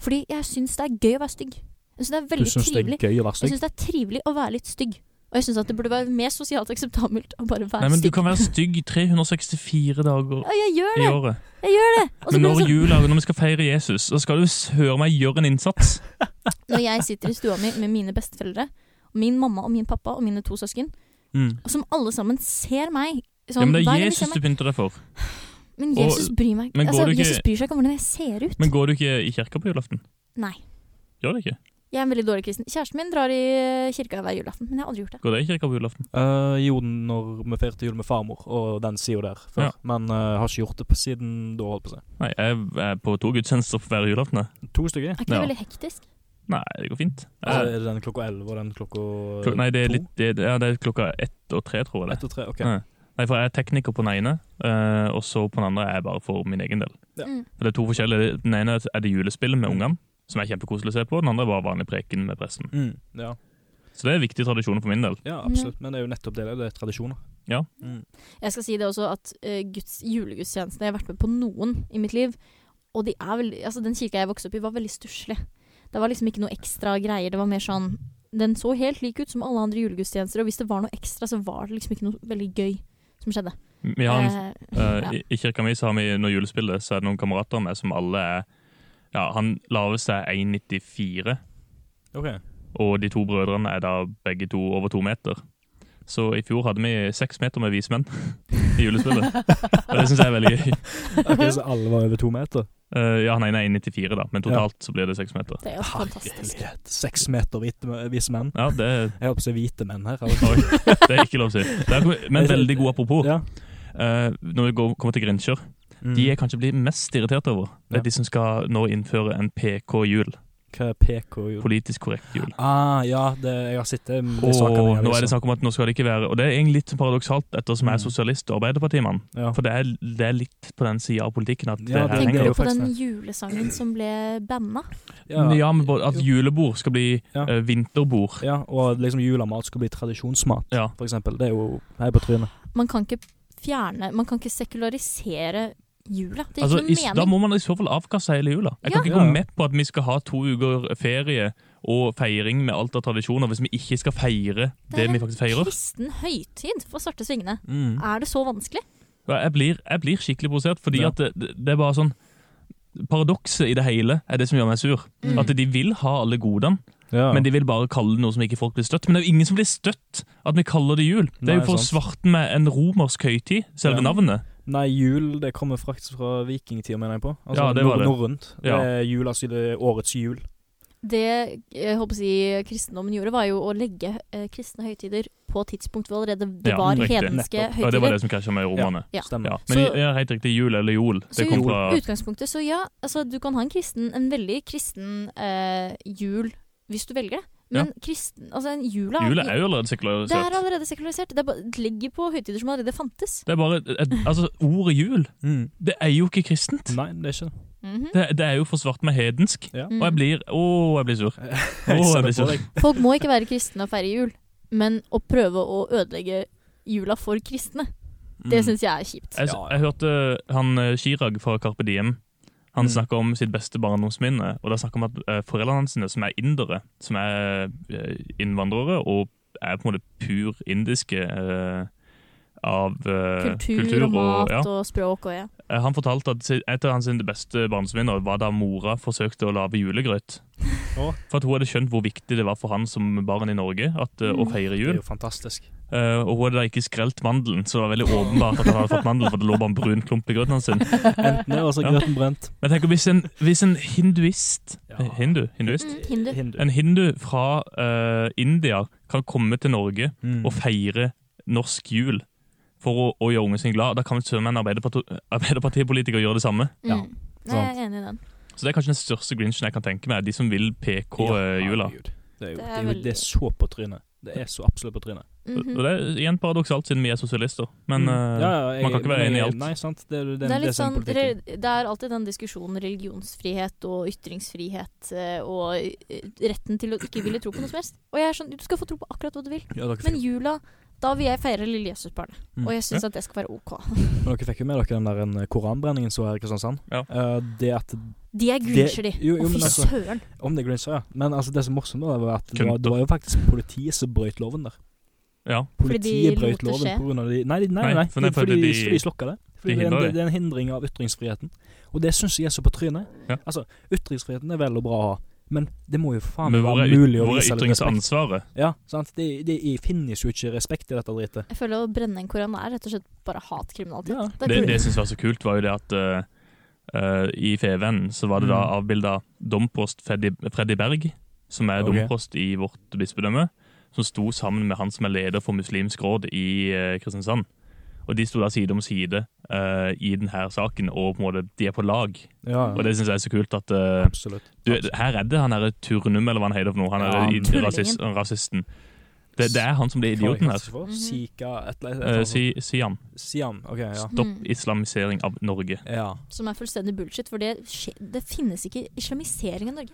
Speaker 1: Fordi jeg syns det er gøy å være stygg. Jeg syns det er
Speaker 2: Du
Speaker 1: veldig
Speaker 2: syns det
Speaker 1: trivelig.
Speaker 2: er gøy å
Speaker 1: Jeg
Speaker 2: være stygg?
Speaker 1: syns det er trivelig å være litt stygg. Og jeg syns at det burde være mer sosialt akseptabelt å bare være
Speaker 3: Nei, men Du
Speaker 1: stygg.
Speaker 3: kan være stygg 364 dager
Speaker 1: Ja, jeg gjør
Speaker 3: i
Speaker 1: det!
Speaker 3: året.
Speaker 1: Jeg gjør det! Og så blir
Speaker 3: Men
Speaker 1: det
Speaker 3: når
Speaker 1: sånn-
Speaker 3: jula, når vi skal feire Jesus, så skal du s- høre meg gjøre en innsats.
Speaker 1: Når jeg sitter i stua mi med mine besteforeldre, og min mamma og min pappa og mine to søsken,
Speaker 3: Mm.
Speaker 1: og som alle sammen ser meg
Speaker 3: Ja,
Speaker 1: sånn,
Speaker 3: men det
Speaker 1: hver
Speaker 3: er
Speaker 1: gang de
Speaker 3: Jesus
Speaker 1: ser
Speaker 3: du
Speaker 1: meg,
Speaker 3: pynter deg for.
Speaker 1: Men
Speaker 3: og-
Speaker 1: Jesus bryr meg
Speaker 3: Men går
Speaker 1: altså,
Speaker 3: du ikke-
Speaker 1: Jesus bryr seg ikke om hvordan jeg ser ut.
Speaker 3: Men går du ikke i kirka på julaften?
Speaker 1: Nei.
Speaker 3: Gjør du ikke?
Speaker 1: Jeg er en veldig dårlig kristen. Kjæresten min drar i eh, kirka hver julaften, men jeg har aldri gjort det.
Speaker 3: Går dere i kirka på julaften?
Speaker 2: Eh, jo, når vi feirte jul med farmor, og den sida der før.
Speaker 3: Ja.
Speaker 2: Men eh, har ikke gjort det på siden da, holdt på å si.
Speaker 3: Nei, jeg er på to gudstjenester for hver julaften. jeg.
Speaker 2: To stykker.
Speaker 1: Er ikke det
Speaker 3: Ja.
Speaker 1: veldig hektisk?
Speaker 3: Nei, det går fint.
Speaker 2: Altså,
Speaker 3: Jeg,
Speaker 2: er det den klokka elleve og den klokka
Speaker 3: klok nei, det er,
Speaker 2: to?
Speaker 3: litt, det, ja, det er klokka ett og tre, tror jeg. det.
Speaker 2: Ett og tre, OK.
Speaker 3: Ja. Nei, for jeg er tekniker på den ene, eh, og så på den andre er jeg bare for min egen del.
Speaker 2: Ja.
Speaker 1: Mm.
Speaker 3: For det er to forskjellige. Den ene er det julespill med ungene, som er kjempekoselig å se på. Den andre er bare vanlig preken med presten.
Speaker 2: Mm, ja.
Speaker 3: Så det er viktige tradisjoner for min del.
Speaker 2: ja, absolutt. Men det er jo nettopp det. Det er tradisjoner.
Speaker 3: Ja.
Speaker 2: Mm.
Speaker 1: Jeg skal si det også at eh, Guds, julegudstjenestene Jeg har vært med på noen i mitt liv, og de er veldig, altså, den kirka jeg vokste opp i, var veldig stusslig. Det var liksom ikke noe ekstra greier. Det var mer sånn Den så helt lik ut som alle andre julegudstjenester, og hvis det var noe ekstra, så var det liksom ikke noe veldig gøy som skjedde.
Speaker 3: Vi har en,
Speaker 1: Eh,
Speaker 3: eh,
Speaker 1: ja.
Speaker 3: i, I kirka mi så har vi når julespillet, så er det noen kamerater med som alle er ja, Han laveste er 1,94,
Speaker 2: OK.
Speaker 3: og de to brødrene er da begge to over to meter. Så i fjor hadde vi seks meter med vismenn i julespillet, og det syns jeg er veldig gøy.
Speaker 2: Ok, Så alle var over to meter?
Speaker 3: Eh, ja, han ene er 1,94, da, men totalt så blir det seks meter.
Speaker 1: Det er jo fantastisk.
Speaker 2: Herlighet. Seks meter hvite visse menn.
Speaker 3: Ja, det,
Speaker 2: Jeg holdt på å si hvite menn her.
Speaker 3: oi, Oh. det er ikke lov å si. Det er, men veldig god apropos.
Speaker 2: Ja.
Speaker 3: Eh, når vi går, kommer til grincher,
Speaker 2: Mm.
Speaker 3: de jeg kanskje blir mest irritert over, det
Speaker 2: Ja.
Speaker 3: er de som skal nå innføre en PK-jul.
Speaker 2: Hva er PK gjorde?
Speaker 3: Politisk korrekt jul.
Speaker 2: Ah, ja, det, jeg har sett det. men det er sakene
Speaker 3: Og
Speaker 2: jeg
Speaker 3: nå er
Speaker 2: viser.
Speaker 3: det snakk om at nå skal det ikke være Og det er egentlig litt paradoksalt, ettersom jeg er
Speaker 2: Mm.
Speaker 3: sosialist og arbeiderpartimann.
Speaker 2: Ja.
Speaker 3: sånn- For det er, det er litt på den sida av politikken at det
Speaker 2: Ja,
Speaker 3: her
Speaker 2: det-
Speaker 1: Tenker
Speaker 3: henger
Speaker 1: du
Speaker 2: jo
Speaker 3: opp.
Speaker 1: på
Speaker 2: faktisk
Speaker 1: den julesangen som ble banna?
Speaker 2: Ja.
Speaker 3: Ja, men både at
Speaker 2: Jo.
Speaker 3: julebord skal bli
Speaker 2: Ja.
Speaker 3: eh, vinterbord.
Speaker 2: ja, og liksom julemat skulle bli tradisjonsmat,
Speaker 3: Ja.
Speaker 2: for eksempel. Det er jo hei på trynet.
Speaker 1: Man kan ikke fjerne Man kan ikke sekularisere jula. Det gir
Speaker 3: Altså, i,
Speaker 1: ikke noe
Speaker 3: da
Speaker 1: mening.
Speaker 3: må man i så fall avkaste hele jula. Jeg kan
Speaker 1: Ja.
Speaker 3: ikke
Speaker 2: Ja,
Speaker 3: gå
Speaker 2: ja.
Speaker 3: med på at vi skal ha to uker ferie og feiring med alt av tradisjoner, hvis vi ikke skal feire det,
Speaker 1: Det er
Speaker 3: vi faktisk feirer. Mm.
Speaker 1: Kristen høytid for Svarte svingene. Er det så vanskelig?
Speaker 3: Ja, Jeg blir, jeg blir skikkelig provosert, fordi
Speaker 2: Ja.
Speaker 3: at det, det- det er bare sånn Paradokset i det hele er det som gjør meg sur.
Speaker 1: Mm.
Speaker 3: At de vil ha alle godene,
Speaker 2: Ja.
Speaker 3: men de vil bare kalle det noe som ikke folk blir støtt. Men det er jo ingen som blir støtt at vi kaller det jul. Det er
Speaker 2: Nei,
Speaker 3: jo for å
Speaker 2: sant.
Speaker 3: svarte med en romersk høytid, selve
Speaker 2: Ja.
Speaker 3: navnet.
Speaker 2: Nei, jul det kommer faktisk fra vikingtida, mener jeg på. Altså
Speaker 3: Ja, det var
Speaker 2: nor-
Speaker 3: det.
Speaker 2: norrønt.
Speaker 3: Ja.
Speaker 2: Det er jul, altså det er årets jul.
Speaker 1: Det jeg håper å si, kristendommen gjorde, var jo å legge eh, kristne høytider på tidspunkt hvor allerede det
Speaker 3: Ja,
Speaker 1: var
Speaker 3: riktig.
Speaker 1: hedenske
Speaker 2: Nettopp.
Speaker 3: Og det var
Speaker 1: høytider.
Speaker 3: det som krasja med romerne.
Speaker 1: Ja.
Speaker 2: Stemmer.
Speaker 3: Ja. Men
Speaker 1: Så-
Speaker 3: ja, helt riktig, jul eller jol.
Speaker 1: Så
Speaker 3: Det
Speaker 1: i
Speaker 3: kom fra
Speaker 1: utgangspunktet, så ja, altså, du kan ha en, kristen, en veldig kristen eh, jul hvis du velger det. Men kristen, altså, en jula
Speaker 3: Jula er jo allerede sekularisert.
Speaker 1: Det er allerede sekularisert. Det, er bare, det ligger på høytider som allerede fantes.
Speaker 3: Det er bare, et, altså, Ordet jul
Speaker 2: Mm.
Speaker 3: det er jo ikke kristent.
Speaker 2: Nei, det er ikke det.
Speaker 1: Mhm.
Speaker 3: Det, det er jo forsvart med hedensk.
Speaker 2: Ja.
Speaker 1: Mm.
Speaker 3: Og jeg blir Å, jeg blir sur. Å,
Speaker 2: Jeg ser det
Speaker 3: jeg blir
Speaker 2: på
Speaker 3: sur.
Speaker 2: deg.
Speaker 1: Folk må ikke være kristne og feire jul, men å prøve å ødelegge jula for kristne, det
Speaker 2: Mm.
Speaker 1: syns jeg er kjipt.
Speaker 3: Jeg, s-
Speaker 2: Ja, ja.
Speaker 3: jeg hørte han eh, Chirag fra Carpe Diem Han
Speaker 2: Mm.
Speaker 3: snakker om sitt beste barndomsminne. Og da snakker han om at eh, foreldrene sine, som er indere, som er eh, innvandrere og er på en måte pur indiske eh, av eh,
Speaker 1: Kultur, og mat
Speaker 3: ja,
Speaker 1: og språk og ja.
Speaker 3: Eh, Han fortalte at si- et av hans sine beste barndomsminner var da mora forsøkte å lage julegrøt.
Speaker 2: Å.
Speaker 3: For at hun hadde skjønt hvor viktig det var for han som barn i Norge at, eh, å
Speaker 1: Mm.
Speaker 3: feire
Speaker 2: Det er
Speaker 3: jul.
Speaker 2: jo fantastisk.
Speaker 3: Eh, og hun hadde da ikke skrelt mandelen, så det var veldig åpenbart at han hadde fått mandel, for det lå bare en brun klump i grøten hans. sin.
Speaker 2: Enten det, og så
Speaker 3: Ja.
Speaker 2: grøten brent.
Speaker 3: Men tenk hvis en, hvis en hinduist
Speaker 2: Ja.
Speaker 3: eh, Hindu? Hinduist?
Speaker 1: Mm, hindu.
Speaker 2: Hindu.
Speaker 3: En hindu fra eh, India kan komme til Norge
Speaker 2: Mm.
Speaker 3: og feire norsk jul for å, å gjøre ungen sin glad. Da kan vel søren meg en Arbeiderparti- arbeiderpartipolitiker gjøre det samme.
Speaker 1: Mm.
Speaker 2: Ja,
Speaker 1: Nei, jeg er enig i den.
Speaker 3: Så det er kanskje den største grinchen jeg kan tenke meg. De som vil PK eh, jula.
Speaker 2: herregud. Det er jo,
Speaker 1: Det
Speaker 2: det
Speaker 1: er
Speaker 2: er, jo,
Speaker 1: veldig-
Speaker 2: det er så på trynet. Det er så absolutt på trynet.
Speaker 1: Mhm.
Speaker 3: Og det er igjen paradoksalt, siden vi er sosialister. Men
Speaker 2: Mm. Ja,
Speaker 3: eh,
Speaker 2: ja, jeg-
Speaker 3: man kan ikke være
Speaker 2: men
Speaker 3: enig
Speaker 2: jeg-
Speaker 3: i alt.
Speaker 2: Nei, sant. Det er, det,
Speaker 1: Det er, litt sånn,
Speaker 2: politikken.
Speaker 1: re- det er alltid den diskusjonen religionsfrihet og ytringsfrihet eh, og eh, retten til å ikke ville tro på noe som helst. Og jeg er sånn, du skal få tro på akkurat hva du vil.
Speaker 2: Ja, dere fikk,
Speaker 1: Men jula, da vil jeg feire lille Jesusbarnet.
Speaker 2: Mm.
Speaker 1: Og jeg syns at det skal være ok.
Speaker 2: men dere fikk jo med dere den der en eh, koranbrenningen som var her i Kristiansand.
Speaker 3: Ja.
Speaker 2: Eh, det at
Speaker 1: De er grincher, de.
Speaker 2: Det- jo, jo,
Speaker 1: Å,
Speaker 2: men
Speaker 1: fy
Speaker 2: altså-
Speaker 1: søren.
Speaker 2: Om det er Grinch, ja. Men altså, det som er morsomt, da, var at det var,
Speaker 3: Kønter.
Speaker 2: det var jo faktisk politiet som brøt loven der.
Speaker 3: ja.
Speaker 1: Fordi de
Speaker 2: Politiet
Speaker 1: lot
Speaker 2: brøt
Speaker 1: det
Speaker 2: loven
Speaker 1: skje?
Speaker 2: på grunn av de Nei, de- nei,
Speaker 3: Nei,
Speaker 2: nei,
Speaker 3: for
Speaker 2: det
Speaker 3: det
Speaker 2: er
Speaker 3: er
Speaker 2: fordi,
Speaker 3: fordi
Speaker 2: de,
Speaker 3: de-
Speaker 2: fordi de slokka det. Fordi
Speaker 3: de
Speaker 2: det, er en,
Speaker 3: hindrer
Speaker 2: det er en hindring av ytringsfriheten. Og det syns jeg er så på trynet.
Speaker 3: Ja.
Speaker 2: Altså, ytringsfriheten er vel og bra å ha, men det må jo for faen
Speaker 3: Men hvor
Speaker 2: være
Speaker 3: er,
Speaker 2: mulig å
Speaker 3: hvor er
Speaker 2: vise litt respekt.
Speaker 3: ytringsansvaret?
Speaker 2: Ja, sant? Det, det finnes jo ikke respekt i dette dritet.
Speaker 1: Jeg føler å brenne en koran er rett og slett bare hatkriminalitet.
Speaker 2: Ja.
Speaker 1: Det er
Speaker 3: Det,
Speaker 1: gul-
Speaker 3: det jeg syns var så kult, var jo det at eh, eh, i Feven så var det da
Speaker 2: Mm.
Speaker 3: avbilda domprost Freddy, Freddy Berg, som er
Speaker 2: Ok.
Speaker 3: domprost i vårt bispedømme, som sto sammen med han som er leder for Muslimsk råd i eh, Kristiansand. Og de sto da side om side eh, i denne saken, og på en måte, de er på lag.
Speaker 2: Ja,
Speaker 3: Og det syns jeg er så kult at eh,
Speaker 2: absolutt.
Speaker 3: Du, her er det han derre Turnum, eller hva han heter for noe. Han
Speaker 2: Ja,
Speaker 3: er i-
Speaker 1: tullingen.
Speaker 3: rasis- rasisten. Det, det er han som blir idioten her.
Speaker 1: Mhm.
Speaker 2: Sika et eller
Speaker 3: Eh,
Speaker 2: annet.
Speaker 3: si, si han.
Speaker 2: Siam. OK, ja.
Speaker 3: Stopp
Speaker 1: Mm.
Speaker 3: islamisering av Norge.
Speaker 2: ja.
Speaker 1: Som er fullstendig bullshit, for det, skje- det finnes ikke islamisering av Norge.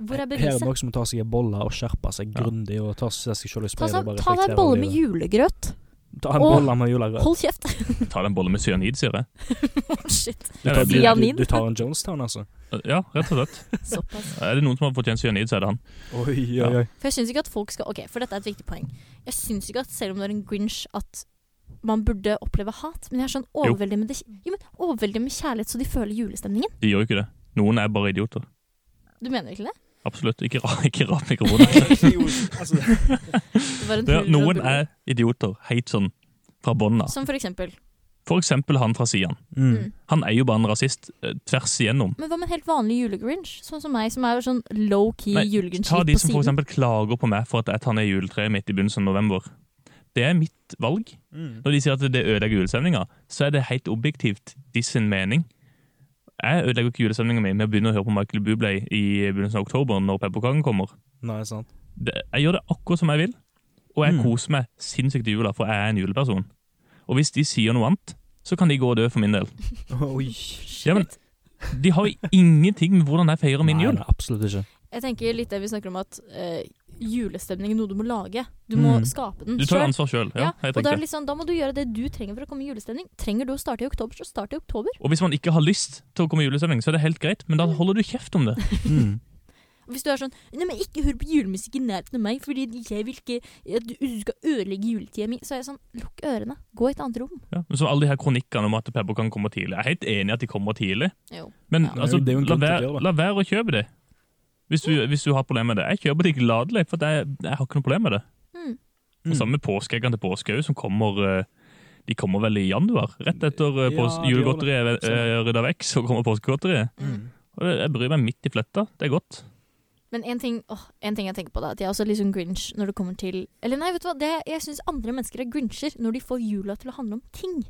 Speaker 1: Hvor er
Speaker 2: Her er det
Speaker 1: beviset?
Speaker 2: noen som må ta seg en bolle og skjerpe seg
Speaker 3: Ja.
Speaker 2: grundig. Og ta seg selv
Speaker 1: Ta,
Speaker 2: i speilet
Speaker 1: seg-
Speaker 2: og bare
Speaker 1: ta deg en
Speaker 2: reflektere
Speaker 1: bolle
Speaker 2: over
Speaker 1: med
Speaker 2: livet.
Speaker 1: julegrøt.
Speaker 2: Ta en
Speaker 1: Åh.
Speaker 2: bolle med julegrøt.
Speaker 1: Hold kjeft!
Speaker 3: Ta deg en bolle med cyanid, sier jeg.
Speaker 1: Å, Shit.
Speaker 2: Du
Speaker 3: Ja,
Speaker 2: tar,
Speaker 3: det-
Speaker 2: du,
Speaker 1: Cyanid.
Speaker 2: du, du tar en Jonestown, altså?
Speaker 3: Ja, rett og slett.
Speaker 1: Såpass.
Speaker 3: Er det noen som har fortjent cyanid, så er det han.
Speaker 2: Oi,
Speaker 3: oi,
Speaker 2: oi, oi.
Speaker 1: For jeg syns ikke at folk skal Ok, for dette er et viktig poeng. Jeg syns ikke at selv om du er en grinch, at man burde oppleve hat. Men jeg er sånn overveldig med, det, jo, men overveldig med kjærlighet, så de føler julestemningen.
Speaker 3: De gjør jo ikke det. Noen er bare idioter.
Speaker 1: Du mener ikke det?
Speaker 3: Absolutt. Ikke, ra, ikke rap mikrofonen.
Speaker 2: altså,
Speaker 1: det var en
Speaker 3: Ja,
Speaker 1: tull og
Speaker 3: noen
Speaker 1: bull.
Speaker 3: er idioter, helt sånn fra bånda.
Speaker 1: Som for eksempel.
Speaker 3: For eksempel han fra Sian.
Speaker 1: Mm.
Speaker 3: Han er jo bare en rasist eh, tvers igjennom.
Speaker 1: Men hva med en helt vanlig julegrinch? Sånn som meg, som er sånn low-key
Speaker 3: Nei,
Speaker 1: julegrinch
Speaker 3: Ta de
Speaker 1: litt på
Speaker 3: som for
Speaker 1: siden.
Speaker 3: eksempel klager på meg for at jeg tar ned juletreet mitt i begynnelsen av november. Det er mitt valg.
Speaker 2: Mm.
Speaker 1: Mm.
Speaker 3: Når de sier at det ødelegger julestemninga, så er det helt objektivt de sin mening. Jeg ødelegger ikke julestemninga mi med å begynne å høre på Michael Bublé i begynnelsen av oktober, når pepperkaken kommer.
Speaker 2: Nei, sant.
Speaker 3: Det, jeg gjør det akkurat som jeg vil, og jeg
Speaker 2: Mm.
Speaker 3: koser meg sinnssykt i jula, for jeg er en juleperson. Og hvis de sier noe annet, så kan de gå og dø for min del.
Speaker 2: Oi.
Speaker 1: Shit.
Speaker 3: Ja, men de har jo ingenting med hvordan jeg feirer min
Speaker 2: Nei,
Speaker 3: jul.
Speaker 2: nei, absolutt ikke.
Speaker 1: Jeg tenker litt det vi snakker om at eh, julestemning er noe du må lage. Du må
Speaker 2: Mm.
Speaker 1: skape den
Speaker 3: Du tar
Speaker 1: selv.
Speaker 3: ansvar sjøl.
Speaker 1: Ja,
Speaker 3: Ja, helt
Speaker 1: og da, er det
Speaker 3: riktig.
Speaker 1: litt sånn, da må du gjøre det du trenger for å komme i julestemning. Trenger du å starte i oktober, så start i oktober.
Speaker 3: og hvis man ikke har lyst til å komme i julestemning, så er det helt greit, men da holder du kjeft om det.
Speaker 2: Mm.
Speaker 1: Hvis du er sånn Nei, men ikke hør på julemusikk i nærheten av meg, fordi jeg vil ikke at du skal ødelegge juletida mi. Så er jeg sånn Lukk ørene. Gå i et annet rom.
Speaker 3: Ja. men Så alle de her kronikkene om at pepperkaken kommer tidlig. Jeg er helt enig i at de kommer tidlig.
Speaker 1: Jo.
Speaker 3: Men
Speaker 1: Ja.
Speaker 3: altså,
Speaker 2: Det er jo en
Speaker 3: la,
Speaker 2: grunn til å
Speaker 3: være,
Speaker 2: gjøre det.
Speaker 3: la være å kjøpe det. Hvis du, hvis du har problemer med det. Jeg kjøper det gladelig, for at jeg, jeg har ikke noe problem med det.
Speaker 1: Mm.
Speaker 3: Og Samme med påskeeggene til påske òg, som kommer eh, De kommer vel i januar? Rett etter eh,
Speaker 2: Ja,
Speaker 3: pås-
Speaker 2: de gjør
Speaker 3: julegodteriet
Speaker 2: det. Sånn.
Speaker 3: er rydda vekk, så kommer påskegodteriet.
Speaker 1: Mm.
Speaker 3: Og jeg- Jeg bryr meg midt i fletta. Det er godt.
Speaker 1: Men en ting, åh, en ting jeg tenker på, da, at jeg er også litt sånn grinch når det kommer til Eller nei, vet du hva, det, jeg syns andre mennesker er grincher når de får jula til å handle om ting.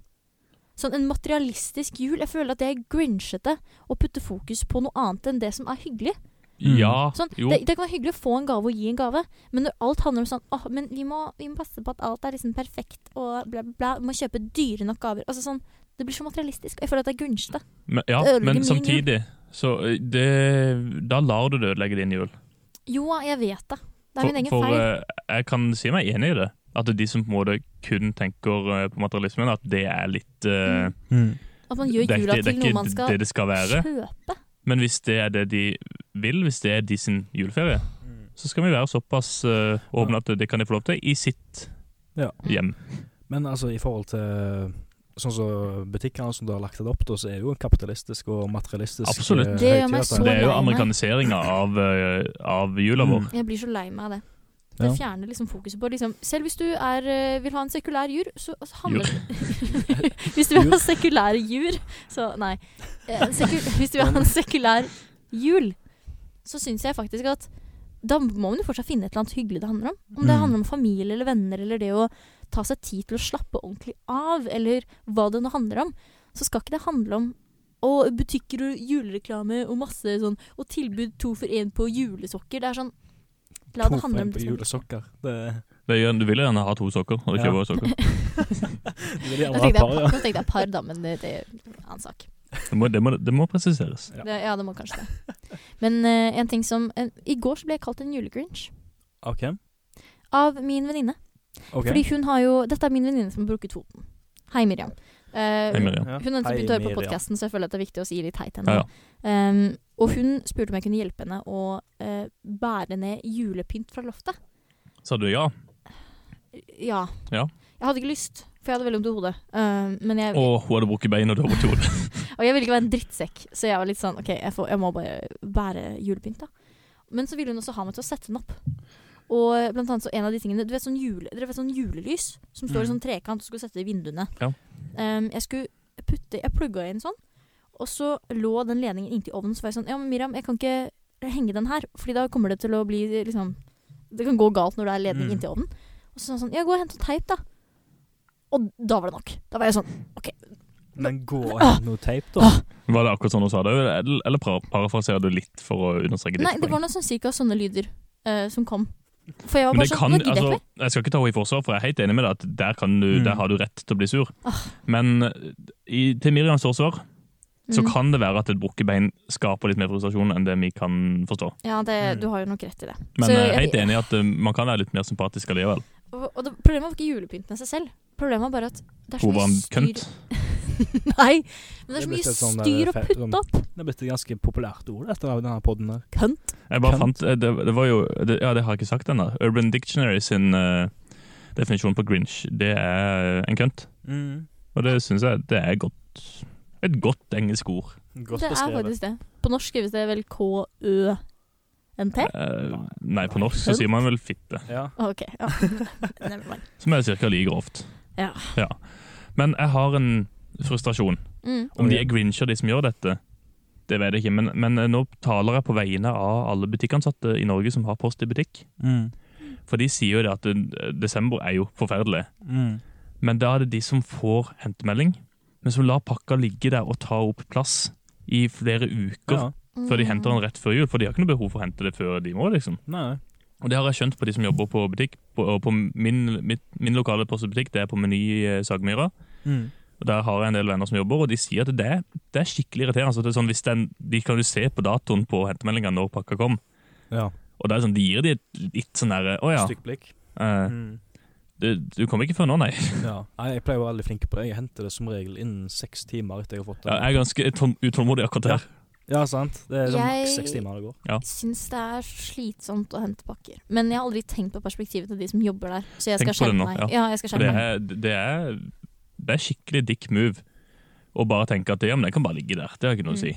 Speaker 1: Sånn en materialistisk jul. Jeg føler at det er grinchete å putte fokus på noe annet enn det som er hyggelig.
Speaker 2: Mm.
Speaker 3: Ja,
Speaker 1: Sånn,
Speaker 3: jo.
Speaker 1: det, det kan være hyggelig å få en gave og gi en gave, men når alt handler om sånn «Åh, men vi må, vi må passe på at alt er liksom perfekt og bla, bla, bla. Vi må kjøpe dyre nok gaver. Altså sånn, Det blir så materialistisk. og Jeg føler at det er grinchete.
Speaker 3: Men, ja,
Speaker 1: det ødelegger
Speaker 3: men
Speaker 1: min
Speaker 3: samtidig så eh, det, Da lar du det ødelegge din jul.
Speaker 1: Jo, jeg vet det. Det er
Speaker 3: For,
Speaker 1: min egen
Speaker 3: for
Speaker 1: feil.
Speaker 3: eh, jeg kan si meg enig i det. At de som på en måte kun tenker eh, på materialismen, at det er litt eh,
Speaker 1: Mm.
Speaker 2: Mm.
Speaker 1: At man gjør
Speaker 3: det, er
Speaker 1: jula
Speaker 3: ikke- det er
Speaker 1: til noe
Speaker 3: ikke
Speaker 1: man skal
Speaker 3: det det skal være.
Speaker 1: kjøpe.
Speaker 3: Men hvis det er det de vil, hvis det er de sin juleferie,
Speaker 2: Mm.
Speaker 3: så skal vi være såpass eh, åpne at det kan de få lov til i sitt
Speaker 2: Ja.
Speaker 3: hjem.
Speaker 2: Men altså, i forhold til Sånn som butikkene som du har lagt det opp til, så er det jo kapitalistisk og materialistisk.
Speaker 3: Absolutt.
Speaker 2: eh,
Speaker 1: Det gjør meg
Speaker 2: høytidete.
Speaker 1: så
Speaker 3: Det er jo
Speaker 1: lei meg.
Speaker 3: amerikaniseringa av, eh, av jula
Speaker 2: Mm.
Speaker 3: vår.
Speaker 1: Jeg blir så lei meg av det. Det
Speaker 2: sånn. Ja.
Speaker 1: fjerner liksom fokuset på liksom, Selv hvis du er, eh, vil ha en sekulær jur, så så handler Hvis du vil ha sekulær jur, så Nei. Eh, Seku, hvis du vil ha en sekulær jul, så syns jeg faktisk at da må man jo fortsatt finne et eller annet hyggelig det handler om. Om det
Speaker 2: Mm.
Speaker 1: handler om familie eller venner, eller det å ta seg tid til å slappe ordentlig av, eller hva det nå handler om, så skal ikke det handle om og butikker og julereklame og masse sånn Og tilbud to for én på julesokker. Det er sånn La
Speaker 2: To
Speaker 1: det handle om
Speaker 2: på
Speaker 1: det. som-
Speaker 2: julesokker. Det
Speaker 3: Det gjør, du vil jo gjerne ha to sokker. Og
Speaker 2: Ja.
Speaker 3: kjøper også sokker.
Speaker 2: det vil de
Speaker 1: Nå
Speaker 2: andre ha
Speaker 1: tenkte jeg
Speaker 2: par,
Speaker 1: par,
Speaker 2: ja.
Speaker 1: nå tenkte jeg par da, men det, det er en annen sak.
Speaker 3: Det må, det må, det må presiseres.
Speaker 2: Ja.
Speaker 1: Det, ja, det må kanskje det. Men eh, en ting som eh, I går så ble jeg kalt en julegrinch
Speaker 2: OK.
Speaker 1: av min venninne.
Speaker 2: ok.
Speaker 1: Fordi hun har jo Dette er min venninne som har brukket foten. Hei, Miriam. Eh,
Speaker 3: Hei, Miriam.
Speaker 2: Ja.
Speaker 1: Hun har nettopp
Speaker 2: Hei,
Speaker 1: begynt å høre på
Speaker 2: Miriam.
Speaker 1: podkasten, så jeg føler at det er viktig å si litt hei til henne.
Speaker 3: Ja, ja.
Speaker 1: Ehm, og hun spurte om jeg kunne hjelpe henne å eh, bære ned julepynt fra loftet.
Speaker 3: Sa du ja?
Speaker 1: Ja.
Speaker 3: Ja.
Speaker 1: Jeg hadde ikke lyst, for jeg hadde veldig vondt i hodet. Ehm, men jeg,
Speaker 3: Og hun hadde brukket bein og du har brukt hodet.
Speaker 1: Og jeg ville ikke være en drittsekk, så jeg var litt sånn OK, jeg, får, jeg må bare bære julepynt, da. Men så ville hun også ha meg til å sette den opp. Og blant annet så en av de tingene Du vet sånn, jule, dere vet sånn julelys som står i
Speaker 2: Mhm.
Speaker 1: sånn trekant og skulle sette i vinduene?
Speaker 3: Ja.
Speaker 1: Ehm, jeg skulle putte Jeg plugga inn sånn, og så lå den ledningen inntil ovnen. Så var jeg sånn Ja, men Miriam, jeg kan ikke henge den her, Fordi da kommer det til å bli liksom Det kan gå galt når det er ledning
Speaker 2: Mhm.
Speaker 1: inntil ovnen. Og så sa han sånn Ja, gå og hent noe teip, da. Og da var det nok. Da var jeg sånn
Speaker 2: Men gå og
Speaker 1: Ah.
Speaker 2: hent noe teip, da.
Speaker 3: Var det akkurat sånn hun sa det? Eller, eller pra- parafraserer du litt for å understreke ditt
Speaker 1: Nei, det var
Speaker 3: poeng?
Speaker 1: noe sånn cirka sånne lyder eh, som kom. For jeg var
Speaker 3: Men
Speaker 1: bare
Speaker 3: det
Speaker 1: sånn
Speaker 3: kan,
Speaker 1: Jeg gidder
Speaker 3: altså,
Speaker 1: ikke.
Speaker 3: jeg skal ikke ta henne i forsvar, for jeg er helt enig med deg at der, kan du,
Speaker 2: Mm.
Speaker 3: der har du rett til å bli sur.
Speaker 1: Ah.
Speaker 3: Men eh, i, til Miriams forsvar så
Speaker 1: Mm.
Speaker 3: kan det være at et brukket bein skaper litt mer frustrasjon enn det vi kan forstå.
Speaker 1: Ja, det,
Speaker 2: Mm.
Speaker 1: du har jo nok rett i det.
Speaker 3: Men
Speaker 1: Så
Speaker 3: jeg er
Speaker 1: jeg-
Speaker 3: helt enig i at eh, man kan være litt mer sympatisk allikevel.
Speaker 1: Og, og det, problemet var ikke julepynten i seg selv. Problemet var bare at det er så
Speaker 3: Hun var
Speaker 1: mye
Speaker 3: en
Speaker 1: styr
Speaker 3: kønt.
Speaker 1: Nei, men det er
Speaker 2: Det
Speaker 1: så
Speaker 2: er blitt
Speaker 1: mye
Speaker 2: et sånn der
Speaker 1: styr å
Speaker 2: fe- sånn-
Speaker 1: putte opp.
Speaker 2: Det er blitt et ganske populært ord etter denne poden her.
Speaker 1: Kønt.
Speaker 3: Jeg bare
Speaker 2: Kønt.
Speaker 3: fant, eh, det, det var jo, det, ja, det har jeg ikke sagt ennå. Urban Dictionary sin eh, definisjon på Grinch, det er eh, en kønt.
Speaker 2: Mm.
Speaker 3: Og det syns jeg det er godt, et godt engelsk ord.
Speaker 2: Godt
Speaker 1: det er
Speaker 2: beskrevet.
Speaker 1: faktisk det. På norsk skrives det vel K-Ø-N-T?
Speaker 3: Eh, nei, på norsk så
Speaker 1: Kønt.
Speaker 3: sier man vel fitte,
Speaker 2: Ja.
Speaker 1: Ok, ja. Never mind.
Speaker 3: som er cirka like grovt.
Speaker 1: Ja.
Speaker 3: Men jeg har en frustrasjon.
Speaker 1: Mm.
Speaker 3: Om
Speaker 2: Ok.
Speaker 3: de er Grincher, de som gjør dette, det vet jeg ikke. Men, men eh, nå taler jeg på vegne av alle butikkansatte i Norge som har post i butikk.
Speaker 1: Ah.
Speaker 2: Mm.
Speaker 3: For de sier jo det at eh, desember er jo forferdelig.
Speaker 2: Mm.
Speaker 3: Men da er det de som får hentemelding, men som lar pakka ligge der og ta opp plass i flere
Speaker 2: Ja.
Speaker 3: uker før de henter den rett før jul. For de har ikke noe behov for å hente det før de må, liksom.
Speaker 2: Nei.
Speaker 3: Og det har jeg skjønt på de som jobber på butikk. På, og på min, mitt, min lokale post og butikk, det er på Meny eh, Sagmyra.
Speaker 2: Mm.
Speaker 3: Og Der har jeg en del venner som jobber, og de sier at det, det er skikkelig irriterende. Så det er sånn, hvis den, de kan jo se på datoen på hentemeldinga når pakka kom.
Speaker 2: Ja.
Speaker 3: Og det er sånn, de gir de et litt sånn derre Å ja,
Speaker 2: Stygt blikk.
Speaker 3: eh,
Speaker 2: Mm.
Speaker 3: du, du kom ikke før nå, nei.
Speaker 2: Ja. Nei, jeg pleier å være veldig flink på det. Jeg henter det som regel innen seks timer etter jeg har fått det.
Speaker 3: Ja, jeg er ganske utål- utålmodig akkurat her.
Speaker 2: Ja, sant. Det er sånn maks
Speaker 1: Jeg-
Speaker 2: seks timer det går.
Speaker 1: Syns det er slitsomt å hente pakker. Men jeg har aldri tenkt på perspektivet til de som jobber der. Så jeg skal
Speaker 3: Tenk på det
Speaker 1: skjerpe
Speaker 3: nå,
Speaker 1: meg.
Speaker 3: ja.
Speaker 1: Ja, jeg skal
Speaker 3: For det
Speaker 1: skjerpe meg.
Speaker 3: er, det er, det er skikkelig dick move å bare tenke at ja, men den kan bare ligge der. Det har ikke noe å si.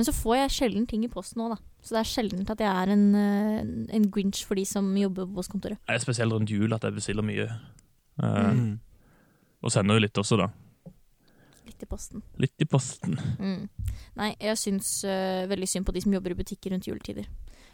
Speaker 1: Men så får jeg sjelden ting i posten òg, da. Så det er sjelden at jeg er en, eh, en grinch for de som jobber på postkontoret.
Speaker 3: Det er spesielt rundt jul at jeg bestiller mye. Eh,
Speaker 1: Mm.
Speaker 3: Og sender jo litt også, da.
Speaker 1: Litt i posten.
Speaker 3: Litt i posten.
Speaker 1: Mm. Nei, jeg syns eh, veldig synd på de som jobber i butikker rundt juletider.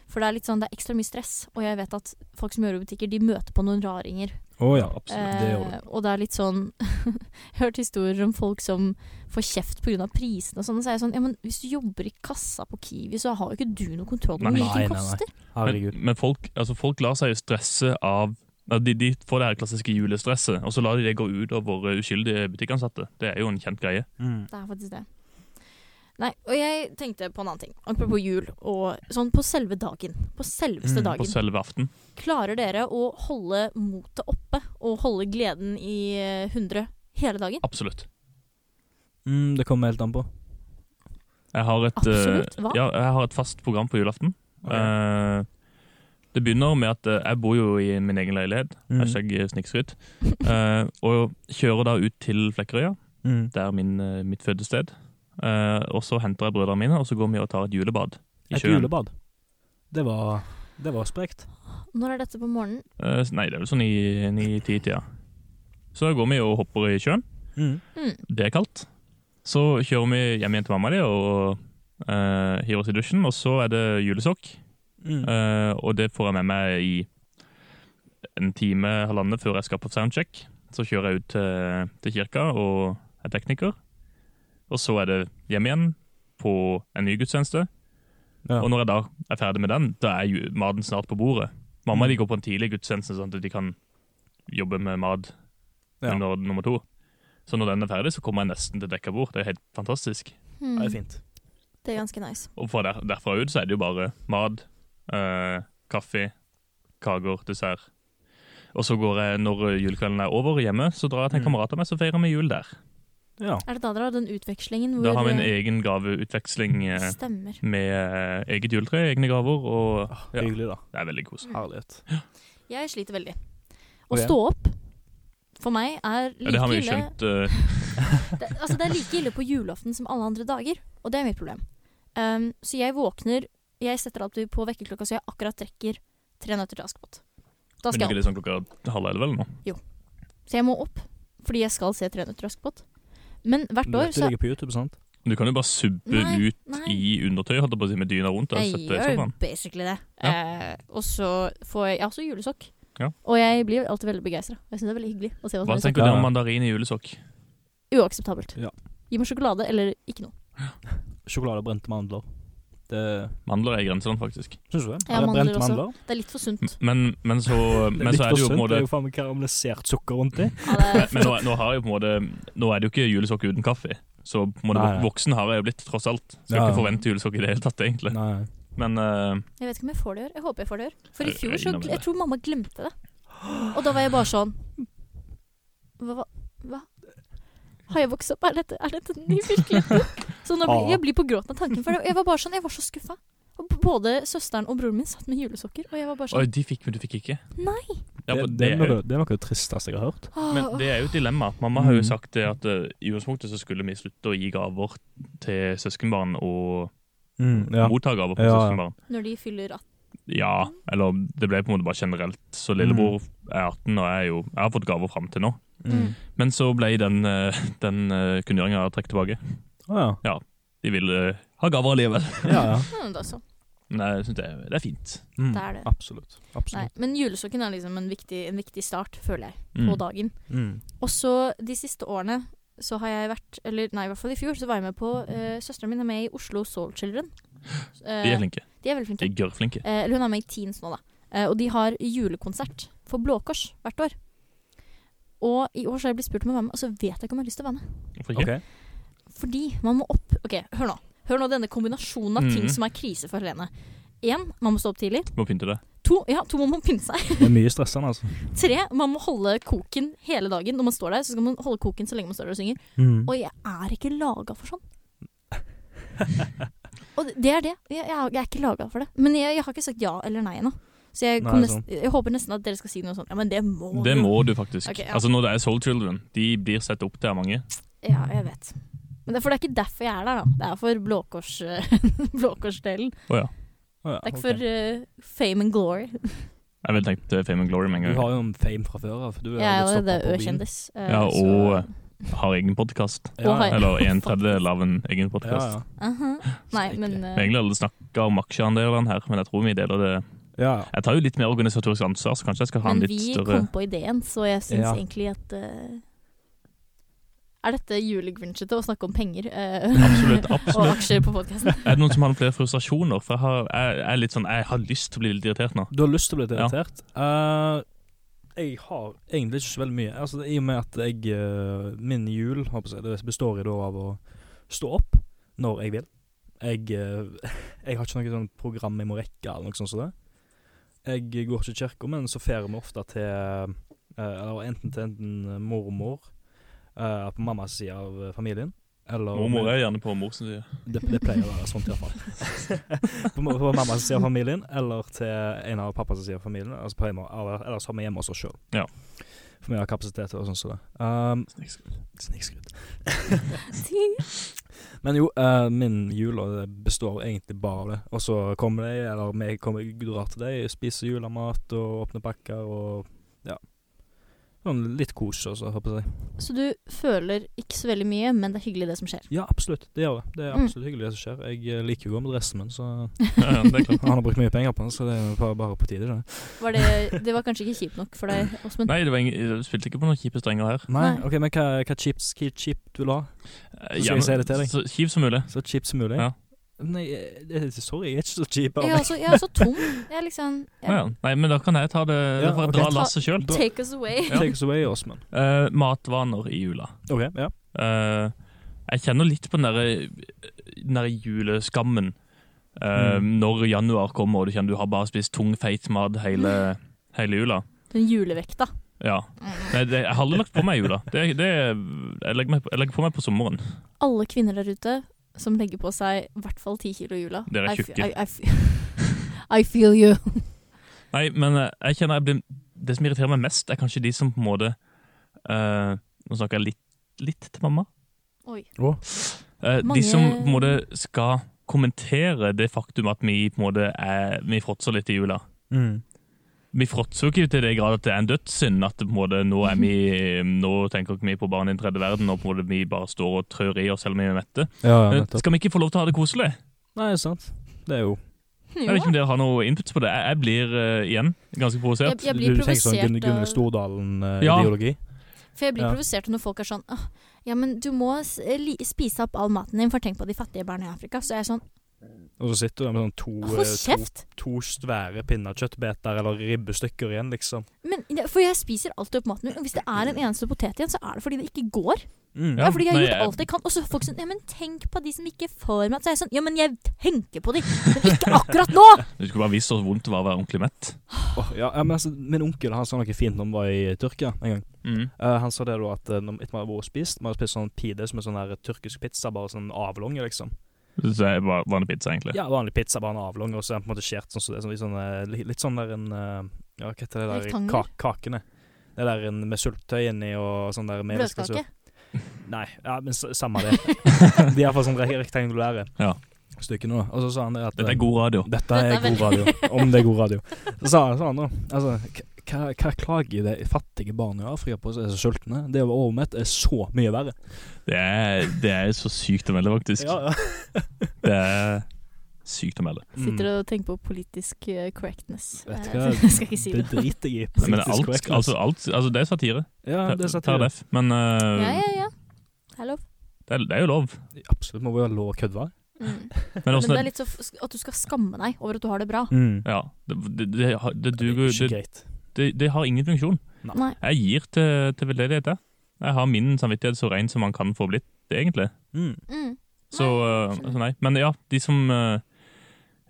Speaker 1: For det er litt sånn, det er ekstra mye stress, og jeg vet at folk som jobber i butikker, de møter på noen raringer.
Speaker 2: Å ja, absolutt. Det gjør du.
Speaker 1: Eh, og det er litt sånn Jeg har hørt historier om folk som får kjeft pga. prisene og sånn. Og så er jeg sånn Ja, men hvis du jobber i kassa på Kiwi, så har jo ikke du noe kontroll på hvor
Speaker 3: Nei.
Speaker 1: mye
Speaker 2: Nei, nei,
Speaker 1: ting
Speaker 2: nei.
Speaker 1: koster.
Speaker 2: Herregud.
Speaker 3: Men, men folk, altså folk lar seg jo stresse av ja, de, de får det her klassiske julestresset, og så lar de det gå ut over eh, uskyldige butikkansatte. Det er jo en kjent greie.
Speaker 2: Mm.
Speaker 1: Det er faktisk det. Nei, og jeg tenkte på en annen ting. Apropos jul og sånn på selve dagen. På selveste
Speaker 2: Mm, på
Speaker 3: På
Speaker 1: dagen.
Speaker 3: selve aften.
Speaker 1: Klarer dere å holde motet oppe og holde gleden i eh, 100 hele dagen?
Speaker 3: Absolutt.
Speaker 2: Mm, det kommer helt an på.
Speaker 3: Jeg har et, eh,
Speaker 1: Absolutt, hva?
Speaker 3: Ja, jeg har et fast program på julaften.
Speaker 2: Ok.
Speaker 3: Eh, det begynner med at eh, jeg bor jo i min egen leilighet,
Speaker 2: Mm.
Speaker 3: hashtag snikskryt, eh, og kjører da ut til Flekkerøya.
Speaker 2: Mm.
Speaker 3: Det er min, eh, mitt fødested. Eh, og så henter jeg brødrene mine, og så går vi og tar et julebad i
Speaker 2: Et
Speaker 3: sjøen.
Speaker 2: julebad. Det var, det var sprekt.
Speaker 1: Når er dette på morgenen?
Speaker 3: Eh, nei, det er vel sånn i ni-ti-tida. Så går vi og hopper i sjøen.
Speaker 2: Mm.
Speaker 1: Mm.
Speaker 3: Det er kaldt. Så kjører vi hjem igjen til mamma di og eh, hiver oss i dusjen, og så er det julesokk.
Speaker 2: Mm.
Speaker 3: Eh, og det får jeg med meg i en time, halvannen før jeg skal på soundcheck. Så kjører jeg ut til, til kirka og er tekniker. Og så er det hjem igjen på en ny gudstjeneste.
Speaker 2: Ja.
Speaker 3: Og når jeg da er ferdig med den, da er ju- maten snart på bordet.
Speaker 2: Mm.
Speaker 3: Mamma de går på en tidlig gudstjeneste, sånn at de kan jobbe med mat
Speaker 2: Ja.
Speaker 3: under nummer to. Så når den er ferdig, så kommer jeg nesten til dekka bord. Det er helt fantastisk.
Speaker 1: Hmm.
Speaker 2: Det er fint.
Speaker 1: Det er ganske nice.
Speaker 3: Og fra der, derfra ut så er det jo bare mat, eh, kaffe, kaker, dessert. Og så går jeg, når julekvelden er over hjemme, så drar jeg til en
Speaker 2: Mm.
Speaker 3: kamerat av meg, så feirer vi jul der.
Speaker 2: Ja.
Speaker 1: Er det da dere har den utvekslingen hvor
Speaker 3: Da har vi en egen gaveutveksling eh,
Speaker 1: Stemmer.
Speaker 3: med eh, eget juletre, egne gaver, og
Speaker 2: Ah,
Speaker 3: Ja.
Speaker 2: Hyggelig, da.
Speaker 3: det er veldig
Speaker 1: Mm.
Speaker 3: koselig.
Speaker 2: Herlighet.
Speaker 1: Jeg sliter veldig. Å
Speaker 2: Ok.
Speaker 1: stå opp for meg er
Speaker 3: Ja, det
Speaker 1: like
Speaker 3: har vi jo
Speaker 1: ille
Speaker 3: skjønt. eh,
Speaker 1: det, altså, det er like ille på julaften som alle andre dager, og det er mitt problem. Um, så jeg våkner Jeg setter alltid på vekkerklokka så jeg akkurat rekker tre nøtter til Askepott. Da skal
Speaker 3: men ikke
Speaker 1: jeg opp.
Speaker 3: det sånn klokka halv elleve eller noe?
Speaker 1: Så jeg må opp, fordi jeg skal se Tre nøtter til Askepott. Men hvert år
Speaker 2: Dette
Speaker 1: så
Speaker 2: ligger på YouTube, sant?
Speaker 3: Du kan jo bare subbe
Speaker 1: Nei,
Speaker 3: ut
Speaker 1: nei.
Speaker 3: i undertøy, holdt jeg på å si, med dyna rundt. Og
Speaker 1: Jeg
Speaker 3: sette i
Speaker 1: gjør
Speaker 3: sofaen.
Speaker 1: basically det. Eh, og så får jeg Jeg har også julesokk.
Speaker 3: Ja.
Speaker 1: Og jeg blir alltid veldig begeistra. Jeg syns det er veldig hyggelig å se hva
Speaker 3: Hva
Speaker 1: som er
Speaker 3: tenker du
Speaker 2: Ja.
Speaker 3: om mandarin i julesokk?
Speaker 1: i- Uakseptabelt.
Speaker 2: Ja.
Speaker 1: Gi meg sjokolade eller ikke noe.
Speaker 2: Sjokolade og brente mandler. Det
Speaker 3: Mandler er i grenseland, faktisk.
Speaker 2: Syns du det?
Speaker 1: Ja,
Speaker 2: Er det
Speaker 1: mandler
Speaker 2: brente
Speaker 1: også.
Speaker 2: mandler?
Speaker 1: Det er litt for sunt.
Speaker 3: Men, men, så, men så er det jo på en
Speaker 2: sunt, Det
Speaker 3: måte
Speaker 2: er jo faen meg karamellisert sukker rundt i.
Speaker 1: Ja, det er
Speaker 3: Men nå, nå, har jeg på en måte, nå er det jo ikke julesokk uten kaffe. Så på en måte,
Speaker 2: Nei.
Speaker 3: voksen har jeg jo blitt, tross alt. Skal
Speaker 2: Ja.
Speaker 3: ikke forvente julesokk i det hele tatt, egentlig.
Speaker 2: Nei.
Speaker 3: Men eh,
Speaker 1: Jeg vet ikke om jeg får det i år. Jeg håper jeg får det i år. For i
Speaker 3: Jeg- jeg
Speaker 1: fjor så
Speaker 3: regner med
Speaker 1: gl-
Speaker 3: det.
Speaker 1: Jeg tror mamma glemte det. Og da var jeg bare sånn Hva? hva- hva? Har jeg vokst opp? Er dette, er dette den nye virkeligheten? Så nå blir,
Speaker 3: Ah.
Speaker 1: jeg blir på gråten av tanken. For det- jeg var bare sånn, jeg var så skuffa. Og b- Både søsteren og broren min satt med julesokker, og jeg var bare
Speaker 3: Oi,
Speaker 1: sånn
Speaker 3: de fikk, men du fikk ikke.
Speaker 1: Nei!
Speaker 3: Ja,
Speaker 2: det,
Speaker 3: for
Speaker 2: det,
Speaker 3: det,
Speaker 2: er
Speaker 3: er jo,
Speaker 2: noe, det er noe av det tristeste jeg har hørt.
Speaker 1: Åh.
Speaker 3: men det er jo et dilemma. Mamma har jo
Speaker 2: Mm.
Speaker 3: sagt det at eh, i utgangspunktet så skulle vi slutte å gi gaver til søskenbarn og motta gaver
Speaker 2: Mm,
Speaker 3: på
Speaker 2: Ja, ja.
Speaker 3: søskenbarn.
Speaker 1: Når de fyller 18
Speaker 3: Ja, eller det ble på en måte bare generelt. Så lillebror er 18, og jeg, er jo, jeg har fått gaver fram til nå.
Speaker 2: Mm.
Speaker 3: Men så ble den, eh, den eh, kunngjøringa trukket tilbake.
Speaker 2: Å, ja.
Speaker 3: De ville eh, ha gaver alligevel.
Speaker 2: ja, ja.
Speaker 1: ja, da så.
Speaker 3: Men jeg synes det, er- det er fint.
Speaker 2: Mm.
Speaker 1: Det er det.
Speaker 2: Absolutt.
Speaker 1: Nei,
Speaker 2: Absolutt.
Speaker 1: Men julesokken er liksom en viktig, en viktig start, føler jeg,
Speaker 3: Mm.
Speaker 1: på dagen.
Speaker 2: Mm.
Speaker 1: Og så de siste årene så har jeg vært, eller nei, i hvert fall i fjor, så var jeg med på uh, Søstera mi er med i Oslo Soul Children. Eh,
Speaker 3: De er flinke.
Speaker 1: de er veldig
Speaker 3: De
Speaker 1: flinke.
Speaker 3: er gørrflinke.
Speaker 1: Eh, eller hun er med i Teens nå, da. Eh, og de har julekonsert for Blå Kors hvert år. Og i år så har jeg blitt spurt om å være med, og så vet jeg ikke om jeg har lyst til å være med.
Speaker 3: Hvorfor ikke?
Speaker 2: Ok.
Speaker 1: Fordi man må opp Ok, hør nå. Hør nå denne kombinasjonen av ting
Speaker 3: Mhm.
Speaker 1: som er krise for Helene. Én, man må stå opp tidlig.
Speaker 3: Må pynte det.
Speaker 1: To, ja, to man må pinne seg.
Speaker 2: Det er mye stressende, altså.
Speaker 1: Tre, man må holde koken hele dagen. Når man står der, så skal man holde koken så lenge man står der og synger.
Speaker 2: Mm.
Speaker 1: Og jeg er ikke laga for sånn. og det er det. Jeg, jeg, er- jeg er ikke laga for det. Men jeg, jeg har ikke sagt ja eller nei ennå. Så jeg, kom
Speaker 2: Nei,
Speaker 1: nest, jeg håper nesten at dere skal si noe sånt. Ja, men det må
Speaker 3: Det
Speaker 1: du.
Speaker 3: må du faktisk.
Speaker 1: Ok, ja.
Speaker 3: Altså Når det er Soul Children, de blir sett opp til av mange.
Speaker 1: Ja, jeg vet. Men det, for det er ikke derfor jeg er der, da. Det er for Blå Kors, Blå Kors-delen. Det
Speaker 3: Å ja.
Speaker 2: Å, ja,
Speaker 1: er ikke
Speaker 2: ok.
Speaker 1: for eh, fame and glory.
Speaker 3: Jeg ville tenkt eh, Fame and Glory med en
Speaker 2: Du
Speaker 3: gang.
Speaker 2: har jo en fame fra før av. for Du er
Speaker 1: Jeg er
Speaker 2: jo
Speaker 1: allerede
Speaker 2: litt stoppet på byen.
Speaker 1: Ø-kjendis. eh,
Speaker 3: Ja,
Speaker 1: så-
Speaker 3: og- Har egen podkast.
Speaker 1: og har-
Speaker 3: Eller en tredjedel av en egen
Speaker 2: Ja,
Speaker 3: podkast.
Speaker 2: ja.
Speaker 1: Aha. Nei, men eh,
Speaker 3: Vi har egentlig alle snakka om aksjeandelene her, men jeg tror vi deler det
Speaker 2: ja.
Speaker 3: Jeg tar jo litt mer organisatorisk ansvar, så kanskje jeg skal ha en
Speaker 1: Men
Speaker 3: litt
Speaker 1: vi
Speaker 3: større
Speaker 1: kom på ideen, så jeg syns
Speaker 2: Ja.
Speaker 1: egentlig at eh, Er dette julegrinchete å snakke om penger eh,
Speaker 3: Absolutt.
Speaker 1: og
Speaker 3: absolutt
Speaker 1: aksjer på podkasten?
Speaker 3: Er det noen som har noen flere frustrasjoner? For jeg, har, jeg, jeg er litt sånn Jeg har lyst til å bli litt irritert nå.
Speaker 2: Du har lyst til å bli litt
Speaker 3: Ja.
Speaker 2: irritert? Eh, jeg har egentlig ikke så veldig mye. Altså, I og med at jeg eh, Min jul håper jeg, det består i da av å stå opp når jeg vil. Jeg, eh, jeg har ikke noe sånn program jeg må rekke, eller noe sånt som det. Jeg går ikke i kirka, men så feirer vi ofte til eh, eller Enten til enten mormor eh, på mammas side av eh, familien, Eller
Speaker 3: Mormor er gjerne på mors side.
Speaker 2: Det, det pleier å være sånt, iallfall. på, ma- på mammas side av familien, eller til en av pappas side av familien. Altså på hjemme, eller, eller så har vi hjemme hos oss sjøl.
Speaker 3: Ja.
Speaker 2: For vi har kapasitet og sånn som det. Um,
Speaker 3: Snikskryt.
Speaker 2: Snikskryt. Men jo, eh, min jul og det består egentlig bare av det. Og så kommer de, eller vi kommer, drar til deg, spiser julemat og åpner pakker og ja. Sånn litt kos, altså, håper jeg.
Speaker 1: Så du føler ikke så veldig mye, men det er hyggelig det som skjer.
Speaker 2: Ja, absolutt. Det gjør det. Det er
Speaker 1: Mm.
Speaker 2: absolutt hyggelig det som skjer. Jeg eh, liker jo å gå med dressen min, så
Speaker 3: Ja, ja, det er klart.
Speaker 2: Han har brukt mye penger på den, så det er bare, bare på tide. Det.
Speaker 1: Var det, det var kanskje ikke kjipt nok for deg, Åsmund?
Speaker 3: Nei, det var ingen, jeg spilte ikke på noen kjipe strenger her.
Speaker 2: Nei,
Speaker 1: Nei.
Speaker 2: ok, men hva, hva chips, hva chips vil du ha?
Speaker 3: Eh,
Speaker 2: Så skal jeg si det til deg.
Speaker 3: så kjipt som mulig.
Speaker 2: Så chips som mulig?
Speaker 3: Ja.
Speaker 2: Nei, eh, det- sorry, jeg er ikke så cheap.
Speaker 1: Jeg er, også, jeg er så tom. Jeg er liksom jeg,
Speaker 3: Ja. ja. Nei, men da kan jeg ta det
Speaker 2: Ja,
Speaker 3: Da får jeg
Speaker 2: ok.
Speaker 3: dra lasset sjøl.
Speaker 1: Take us away.
Speaker 2: Take us away, Åsmund.
Speaker 3: Eh, matvaner i jula.
Speaker 2: Ok, ja.
Speaker 3: Eh, jeg kjenner litt på den derre den derre juleskammen. Eh,
Speaker 2: Mm.
Speaker 3: Når januar kommer og du kjenner du har bare spist tung, feit mat
Speaker 1: Mm.
Speaker 3: hele, hele jula.
Speaker 1: Den julevekta.
Speaker 3: Ja. Nei, det, jeg har aldri lagt på meg i jula. Det, det, jeg, legger meg, på- jeg legger på meg på sommeren.
Speaker 1: Alle kvinner der ute som legger på seg i hvert fall ti kilo i jula.
Speaker 3: Dere er
Speaker 1: I f-
Speaker 3: tjukke.
Speaker 1: I, I, f- I feel you.
Speaker 3: Nei, men eh, jeg kjenner jeg blir, Det som irriterer meg mest, er kanskje de som på en måte eh, Nå snakker jeg litt, litt til mamma.
Speaker 1: Oi.
Speaker 3: Eh,
Speaker 1: Mange-
Speaker 3: De som på en måte skal kommentere det faktum at vi på en måte er, vi fråtser litt i jula.
Speaker 2: Mm.
Speaker 3: Vi fråtser jo ikke til det grad at det er en dødssynd at det på en måte nå, er vi, nå tenker ikke vi på barn i den tredje verden, og på en måte vi bare står og trør i oss selv om vi er mette.
Speaker 2: Ja, ja,
Speaker 3: Men
Speaker 2: nettopp.
Speaker 3: Eh, skal vi ikke få lov til å ha det koselig?
Speaker 2: Nei, sant. Det er jo
Speaker 3: Jeg vet ikke om dere har noe input på det. Jeg, jeg blir eh, igjen ganske provosert.
Speaker 1: Jeg blir
Speaker 2: Du tenker sånn Gun
Speaker 1: provosert eh. av-
Speaker 2: Gunnhild eh,
Speaker 3: Ja.
Speaker 2: Stordalen-ideologi?
Speaker 1: For jeg blir
Speaker 2: Ja.
Speaker 1: provosert når folk er sånn «Åh, Ja, men du må s- li- spise opp all maten din, for tenk på de fattige barna i Afrika. Så jeg er sånn
Speaker 2: Og så sitter du der med sånn to,
Speaker 1: Hold
Speaker 2: eh,
Speaker 1: kjeft!
Speaker 2: to, to svære pinnekjøttbeter eller ribbestykker igjen, liksom.
Speaker 1: Men, det- for jeg spiser alltid opp maten min. Og hvis det er en eneste potet igjen, så er det fordi det ikke går.
Speaker 2: Mm.
Speaker 1: Ja,
Speaker 3: Ja,
Speaker 1: fordi jeg har
Speaker 3: nei,
Speaker 1: gjort
Speaker 3: jeg-
Speaker 1: alt jeg kan. Og så er folk sånn Ja, men tenk på de som ikke får mat. Så er jeg sånn Ja, men jeg tenker på de, men ikke akkurat nå!
Speaker 3: Du skulle bare vist oss hvor vondt det var å være ordentlig mett.
Speaker 2: Åh, ja, ja, men altså, min onkel han sa noe fint når han var i Tyrkia en gang. Eh, han sa det da at eh, når, etter man hadde vært og spist Man hadde spist sånn pide som en sånn der tyrkisk pizza, bare sånn avlange, liksom.
Speaker 3: Så jeg var, var en pizza, egentlig.
Speaker 2: Ja, vanlig pizza, bare en avlang, og så er den på en måte skjært sånn som det. Sånn, litt sånn, eh, li- litt sånn der en eh, Ja, hva heter det der
Speaker 1: Rektangel?
Speaker 2: kak kakene? Det der en med syltetøy inni og sånn der med
Speaker 1: Bløtkake.
Speaker 2: Nei, ja, men s- samme det. De er iallfall sånn re- rektangulære
Speaker 3: Ja.
Speaker 2: stykker nå. Og så sa han det at eh,
Speaker 3: Dette er god radio.
Speaker 2: Dette er
Speaker 1: Dette er
Speaker 2: god radio. Om det er god radio. Så sa han, sa han da altså, k- hva, hva klager de fattige barna i Afrika på som er så sultne? Det å være overmett er så mye verre.
Speaker 3: Det er, det er så sykt å melde, faktisk.
Speaker 2: Ja, ja.
Speaker 3: Det er sykt å melde.
Speaker 1: Sitter og tenker på politisk eh, correctness.
Speaker 2: Mm. Vet du
Speaker 1: Eh,
Speaker 2: hva?
Speaker 1: jeg skal ikke si
Speaker 2: Det
Speaker 1: det.
Speaker 2: driter jeg i.
Speaker 3: Men
Speaker 2: Politisk
Speaker 3: alt,
Speaker 2: korrektness.
Speaker 3: altså, alt, altså, det er satire.
Speaker 2: ja, det satte jeg-
Speaker 3: Terdef. Men eh,
Speaker 1: Ja, ja, ja. Det er lov.
Speaker 3: Det, er, det er jo lov.
Speaker 2: Absolutt. Må være lov å kødde, hva?
Speaker 1: Mm.
Speaker 3: Men
Speaker 1: Men det
Speaker 3: åssen
Speaker 1: er litt så f at du skal skamme deg over at du har det bra.
Speaker 3: ja, det, det, det, har- det
Speaker 2: Mm.
Speaker 3: duger
Speaker 2: ikke
Speaker 3: jo det,
Speaker 2: greit.
Speaker 3: det, det har ingen funksjon.
Speaker 1: Nei.
Speaker 3: Jeg gir til, til veldedighet, jeg. Jeg har min samvittighet så ren som man kan få blitt, egentlig.
Speaker 2: Mm.
Speaker 1: Mm.
Speaker 3: Så, eh,
Speaker 1: skjønner.
Speaker 3: altså nei. Men ja, de som eh,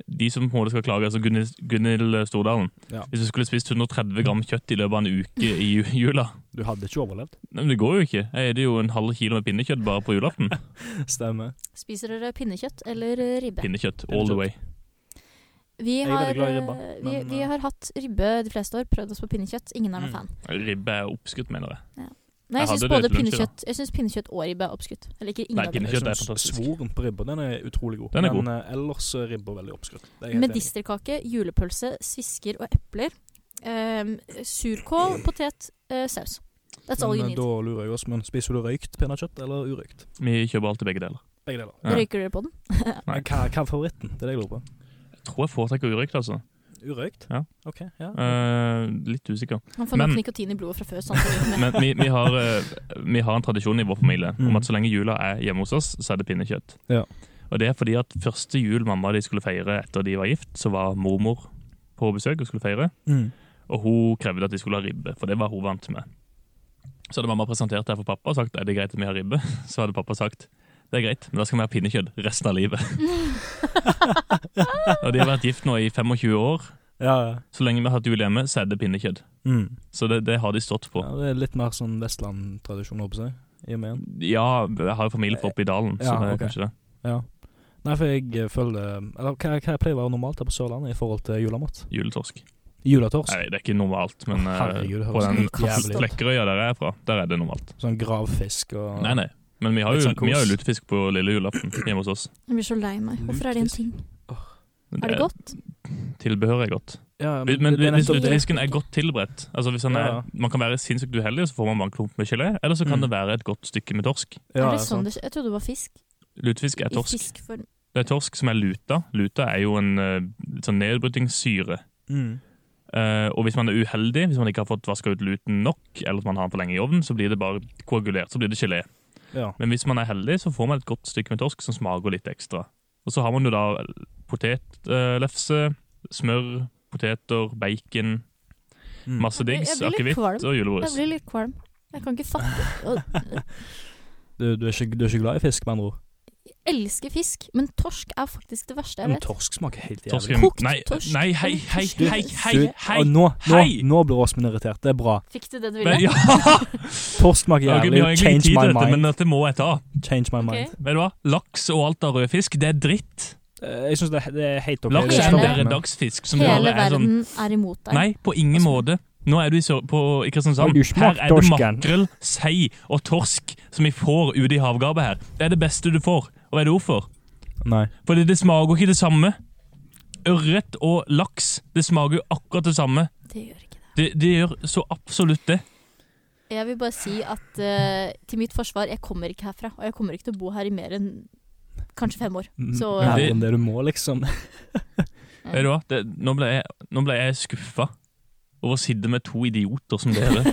Speaker 3: De som på en måte skal klage, altså Gunhild Gunhild Stordalen
Speaker 2: Ja.
Speaker 3: Hvis du skulle spist 130 gram kjøtt i løpet av en uke i ju- jula
Speaker 2: Du hadde ikke overlevd.
Speaker 3: Nei, men Det går jo ikke. Jeg spiser jo en halv kilo med pinnekjøtt bare på julaften.
Speaker 2: Stemmer.
Speaker 1: Spiser dere pinnekjøtt eller eh, ribbe?
Speaker 3: Pinnekjøtt all the way.
Speaker 1: Vi
Speaker 2: Jeg er
Speaker 1: har,
Speaker 2: veldig glad i
Speaker 1: eh,
Speaker 2: ribba,
Speaker 1: vi,
Speaker 2: men,
Speaker 1: vi
Speaker 2: eh,
Speaker 1: har hatt ribbe de fleste år, prøvd oss på pinnekjøtt. Ingen er
Speaker 2: Mm.
Speaker 1: noen fan.
Speaker 3: Ribbe er oppskutt, mener jeg.
Speaker 1: Nei,
Speaker 3: Jeg
Speaker 1: jeg syns
Speaker 3: hadde det
Speaker 1: både
Speaker 3: til lunsj i dag.
Speaker 1: pinnekjøtt, jeg synes pinnekjøtt og ribbe er oppskrytt. Jeg liker ingen
Speaker 3: Nei,
Speaker 1: av dem.
Speaker 3: pinne- Pinnekjøtt er
Speaker 2: sånn
Speaker 3: fantastisk.
Speaker 2: Svoren på ribba, den er utrolig god.
Speaker 3: Den er god.
Speaker 2: Men eh, ellers er ribba veldig oppskrytt. Det er jeg helt enig i.
Speaker 1: Medisterkake, julepølse, svisker og epler. Ehm, surkål, potet, eh, saus. That's all you
Speaker 2: Men eh,
Speaker 1: need.
Speaker 2: da lurer jeg oss, men spiser du røykt pinnekjøtt eller urøykt?
Speaker 3: Vi kjøper alltid begge deler.
Speaker 2: Begge deler.
Speaker 3: Ja.
Speaker 1: Røyker dere på den?
Speaker 3: Nei.
Speaker 2: Men Hva, hva er favoritten? Det er det jeg lurer på.
Speaker 3: Jeg tror jeg foretrekker urøykt, altså.
Speaker 2: Urøykt?
Speaker 3: Ja.
Speaker 2: Ok, ja.
Speaker 3: Eh, litt usikker.
Speaker 1: Han får nok
Speaker 3: Men-
Speaker 1: nikotin i blodet fra før. Sånn, at det-
Speaker 3: Men vi, vi, har, eh, vi har en tradisjon i vår familie
Speaker 2: Mm.
Speaker 3: om at så lenge jula er hjemme hos oss, så er det pinnekjøtt.
Speaker 2: Ja.
Speaker 3: Og det er fordi at første jul mamma og de skulle feire etter de var gift, så var mormor på besøk og skulle feire.
Speaker 2: Mm.
Speaker 3: Og hun krevde at de skulle ha ribbe, for det var hun vant med. Så hadde mamma presentert det her for pappa og sagt er det greit at vi har ribbe. Så hadde pappa sagt det er greit, men da skal vi ha pinnekjøtt resten av livet. og de har vært gift nå i 25 år.
Speaker 2: Ja, ja.
Speaker 3: Så lenge vi har hatt jul hjemme, så er det pinnekjøtt.
Speaker 2: Mm.
Speaker 3: Så det, det har de stått på.
Speaker 2: ja. Det er litt mer sånn Vestland-tradisjon, håper jeg. i og med en.
Speaker 3: Ja, jeg har jo familie fra oppe i dalen, så
Speaker 2: Ja,
Speaker 3: det er
Speaker 2: ok.
Speaker 3: kanskje det.
Speaker 2: Ja. Nei, for jeg eh, føler Eller hva, hva jeg pleier å være normalt her på Sørlandet i forhold til julemat?
Speaker 3: Juletorsk.
Speaker 2: Juletorsk.
Speaker 3: Nei, det er ikke normalt, men eh,
Speaker 2: Altså, Herregud, det
Speaker 3: på
Speaker 2: høres
Speaker 3: den
Speaker 2: helt jævlig ut.
Speaker 3: Flekkerøya der jeg er fra, der er det normalt.
Speaker 2: Sånn gravfisk og
Speaker 3: Nei, nei. Men vi har
Speaker 2: Litt
Speaker 3: jo,
Speaker 2: sånn kos.
Speaker 3: vi har jo lutefisk på lille julaften hjemme hos oss.
Speaker 1: Jeg blir så lei meg. Hvorfor er det en ting?
Speaker 3: Men
Speaker 1: Er det godt?
Speaker 3: Tilbehøret er godt.
Speaker 2: Ja,
Speaker 3: Men, men
Speaker 2: det er
Speaker 3: hvis
Speaker 2: nettopp det.
Speaker 3: lutefisken er godt tilberedt altså hvis han er,
Speaker 2: Ja, ja.
Speaker 3: Man kan være sinnssykt uheldig, og så får man bare en klump med gelé. Eller så kan
Speaker 2: Mm.
Speaker 3: det være et godt stykke med torsk.
Speaker 2: Ja,
Speaker 1: er det sånn
Speaker 2: sant.
Speaker 1: det Jeg trodde det var fisk.
Speaker 3: Lutefisk er
Speaker 1: I
Speaker 3: torsk.
Speaker 1: fiskform.
Speaker 3: Det er torsk som er luta. Luta er jo en eh, sånn nedbrytingssyre.
Speaker 2: Mm.
Speaker 3: Eh, og hvis man er uheldig, hvis man ikke har fått vaska ut luten nok, eller at man har den for lenge i ovnen, så blir det bare koagulert. Så blir det gelé.
Speaker 2: Ja.
Speaker 3: Men hvis man er heldig, så får man et godt stykke med torsk som smaker litt ekstra. Og så har man jo da potetlefse, smør, poteter, bacon,
Speaker 2: Mm.
Speaker 3: masse
Speaker 1: Jeg blir-
Speaker 3: dings,
Speaker 1: jeg blir litt
Speaker 3: akevitt
Speaker 1: kvalm.
Speaker 3: og
Speaker 1: Jeg
Speaker 3: julebrus.
Speaker 1: blir litt kvalm. Jeg kan ikke fatte og,
Speaker 2: Du, du, er ikke, du er ikke glad i fisk, med andre ord?
Speaker 1: Jeg elsker fisk, men torsk er faktisk det verste jeg
Speaker 2: Men
Speaker 1: vet.
Speaker 2: torsk smaker helt
Speaker 3: Torsk
Speaker 2: jævlig.
Speaker 3: er-
Speaker 1: Kokt
Speaker 3: nei,
Speaker 1: torsk.
Speaker 3: Nei, hei, hei, hei, hei!
Speaker 2: Du,
Speaker 3: hei.
Speaker 2: og nå, nå,
Speaker 3: Hei!
Speaker 2: nå blir Åsmund irritert. Det er bra.
Speaker 1: Fikk du det du
Speaker 3: Men,
Speaker 1: ville?
Speaker 3: ja.
Speaker 2: Torsk smaker
Speaker 3: Ok, vi
Speaker 2: jævlig.
Speaker 3: har egentlig ikke
Speaker 2: Change
Speaker 3: tid
Speaker 2: my
Speaker 3: til dette, men
Speaker 2: mind.
Speaker 3: dette må jeg ta.
Speaker 2: Change my
Speaker 1: Ok.
Speaker 2: mind.
Speaker 3: Vet du hva? Laks og alt av rødfisk, det er dritt.
Speaker 2: Eh, Jeg syns det, er- det er helt ok.
Speaker 3: Laks
Speaker 2: Det er
Speaker 3: skal
Speaker 1: Hele-
Speaker 2: ikke
Speaker 3: være
Speaker 2: noe
Speaker 3: dagsfisk. Som
Speaker 1: Hele
Speaker 3: bare er sånn,
Speaker 1: verden er imot deg.
Speaker 3: nei, på ingen
Speaker 1: Altså-
Speaker 3: måte. Nå er du i, Sør- på, i
Speaker 2: Har
Speaker 3: Kristiansand.
Speaker 2: du smakt
Speaker 3: Her er det
Speaker 2: torsken?
Speaker 3: makrell, sei og torsk som vi får ute i havgapet her. Det er det beste du får. Og vet du hvorfor?
Speaker 2: Nei.
Speaker 3: Fordi det smaker ikke det samme. Ørret og laks, det smaker jo akkurat det samme.
Speaker 1: Det gjør ikke det.
Speaker 3: Det, det gjør så absolutt det.
Speaker 1: Jeg vil bare si at eh, til mitt forsvar, jeg kommer ikke herfra. Og jeg kommer ikke til å bo her i mer enn kanskje fem år. Så
Speaker 2: Mer enn det du må, liksom.
Speaker 3: Vet du hva? Det, nå, ble jeg, nå ble jeg skuffa over å sitte med to idioter som dere.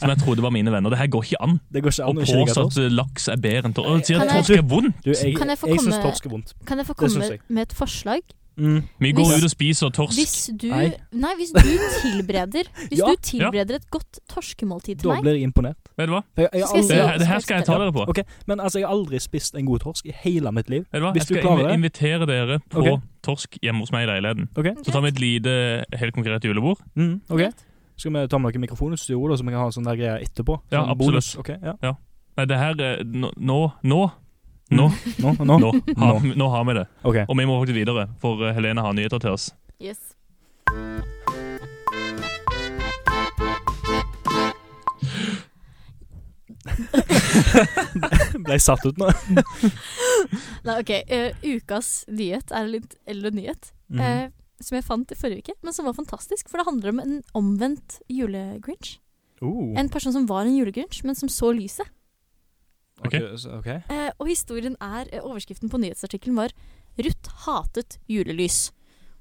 Speaker 3: som jeg trodde var mine venner. Det her går ikke an.
Speaker 2: Det går ikke
Speaker 3: Å
Speaker 2: an å ikke like
Speaker 3: påstå
Speaker 2: torsk.
Speaker 3: at laks er bedre enn torsk. Og sier at
Speaker 1: Kan jeg-
Speaker 3: torsk er vondt.
Speaker 2: Du, jeg
Speaker 1: Kan jeg få
Speaker 2: jeg syns
Speaker 1: komme-
Speaker 2: torsk er vondt.
Speaker 1: Kan jeg få
Speaker 2: Det syns
Speaker 1: komme
Speaker 2: jeg.
Speaker 1: med et forslag?
Speaker 2: Mm.
Speaker 3: Vi går
Speaker 1: Hvis-
Speaker 3: ut og spiser torsk.
Speaker 1: Hvis du,
Speaker 2: Nei.
Speaker 1: nei, hvis du tilbereder Hvis
Speaker 2: Ja.
Speaker 1: du tilbereder et godt torskemåltid til
Speaker 2: Da
Speaker 1: meg
Speaker 2: blir jeg imponert.
Speaker 3: Vet du hva?
Speaker 2: For jeg, jeg har
Speaker 1: Skal jeg
Speaker 3: Det,
Speaker 2: aldri,
Speaker 1: si-
Speaker 3: det her skal jeg ta dere på.
Speaker 2: Ok, Men altså, jeg har aldri spist en god torsk i hele mitt liv.
Speaker 3: Vet du hva?
Speaker 2: Hvis
Speaker 3: Jeg
Speaker 2: du
Speaker 3: skal
Speaker 2: klarer
Speaker 3: invi-
Speaker 2: det.
Speaker 3: invitere dere på
Speaker 2: Ok.
Speaker 3: torsk hjemme hos meg i leiligheten.
Speaker 2: Ok?
Speaker 3: Så tar vi et lite, helt konkret julebord.
Speaker 2: Mm, ok.
Speaker 1: Greit.
Speaker 2: Skal vi ta med noe mikrofonutstyr, Ola, så vi kan ha en sånn der greie etterpå?
Speaker 3: Ja,
Speaker 2: Sånn
Speaker 3: absolutt.
Speaker 2: bonus. Ok, ja.
Speaker 3: Nei, det her eh, Nå Nå Nå, nå,
Speaker 2: Nå, Mm. nå.
Speaker 3: nå, har, vi- nå har vi det.
Speaker 2: Ok.
Speaker 3: Og vi må faktisk videre, for eh, Helene har nyheter til oss.
Speaker 1: Yes.
Speaker 2: Ble jeg satt ut nå?
Speaker 1: Nei, OK. eh, ukas nyhet er en litt eldre nyhet.
Speaker 2: Mm.
Speaker 1: eh, som jeg fant i forrige uke, men som var fantastisk. For det handler om en omvendt julegrinch.
Speaker 2: Oh.
Speaker 1: En person som var en julegrinch, men som så lyset.
Speaker 2: Ok,
Speaker 3: Ok.
Speaker 2: så- ok.
Speaker 1: Eh, og historien er eh, Overskriften på nyhetsartikkelen var 'Ruth hatet julelys'.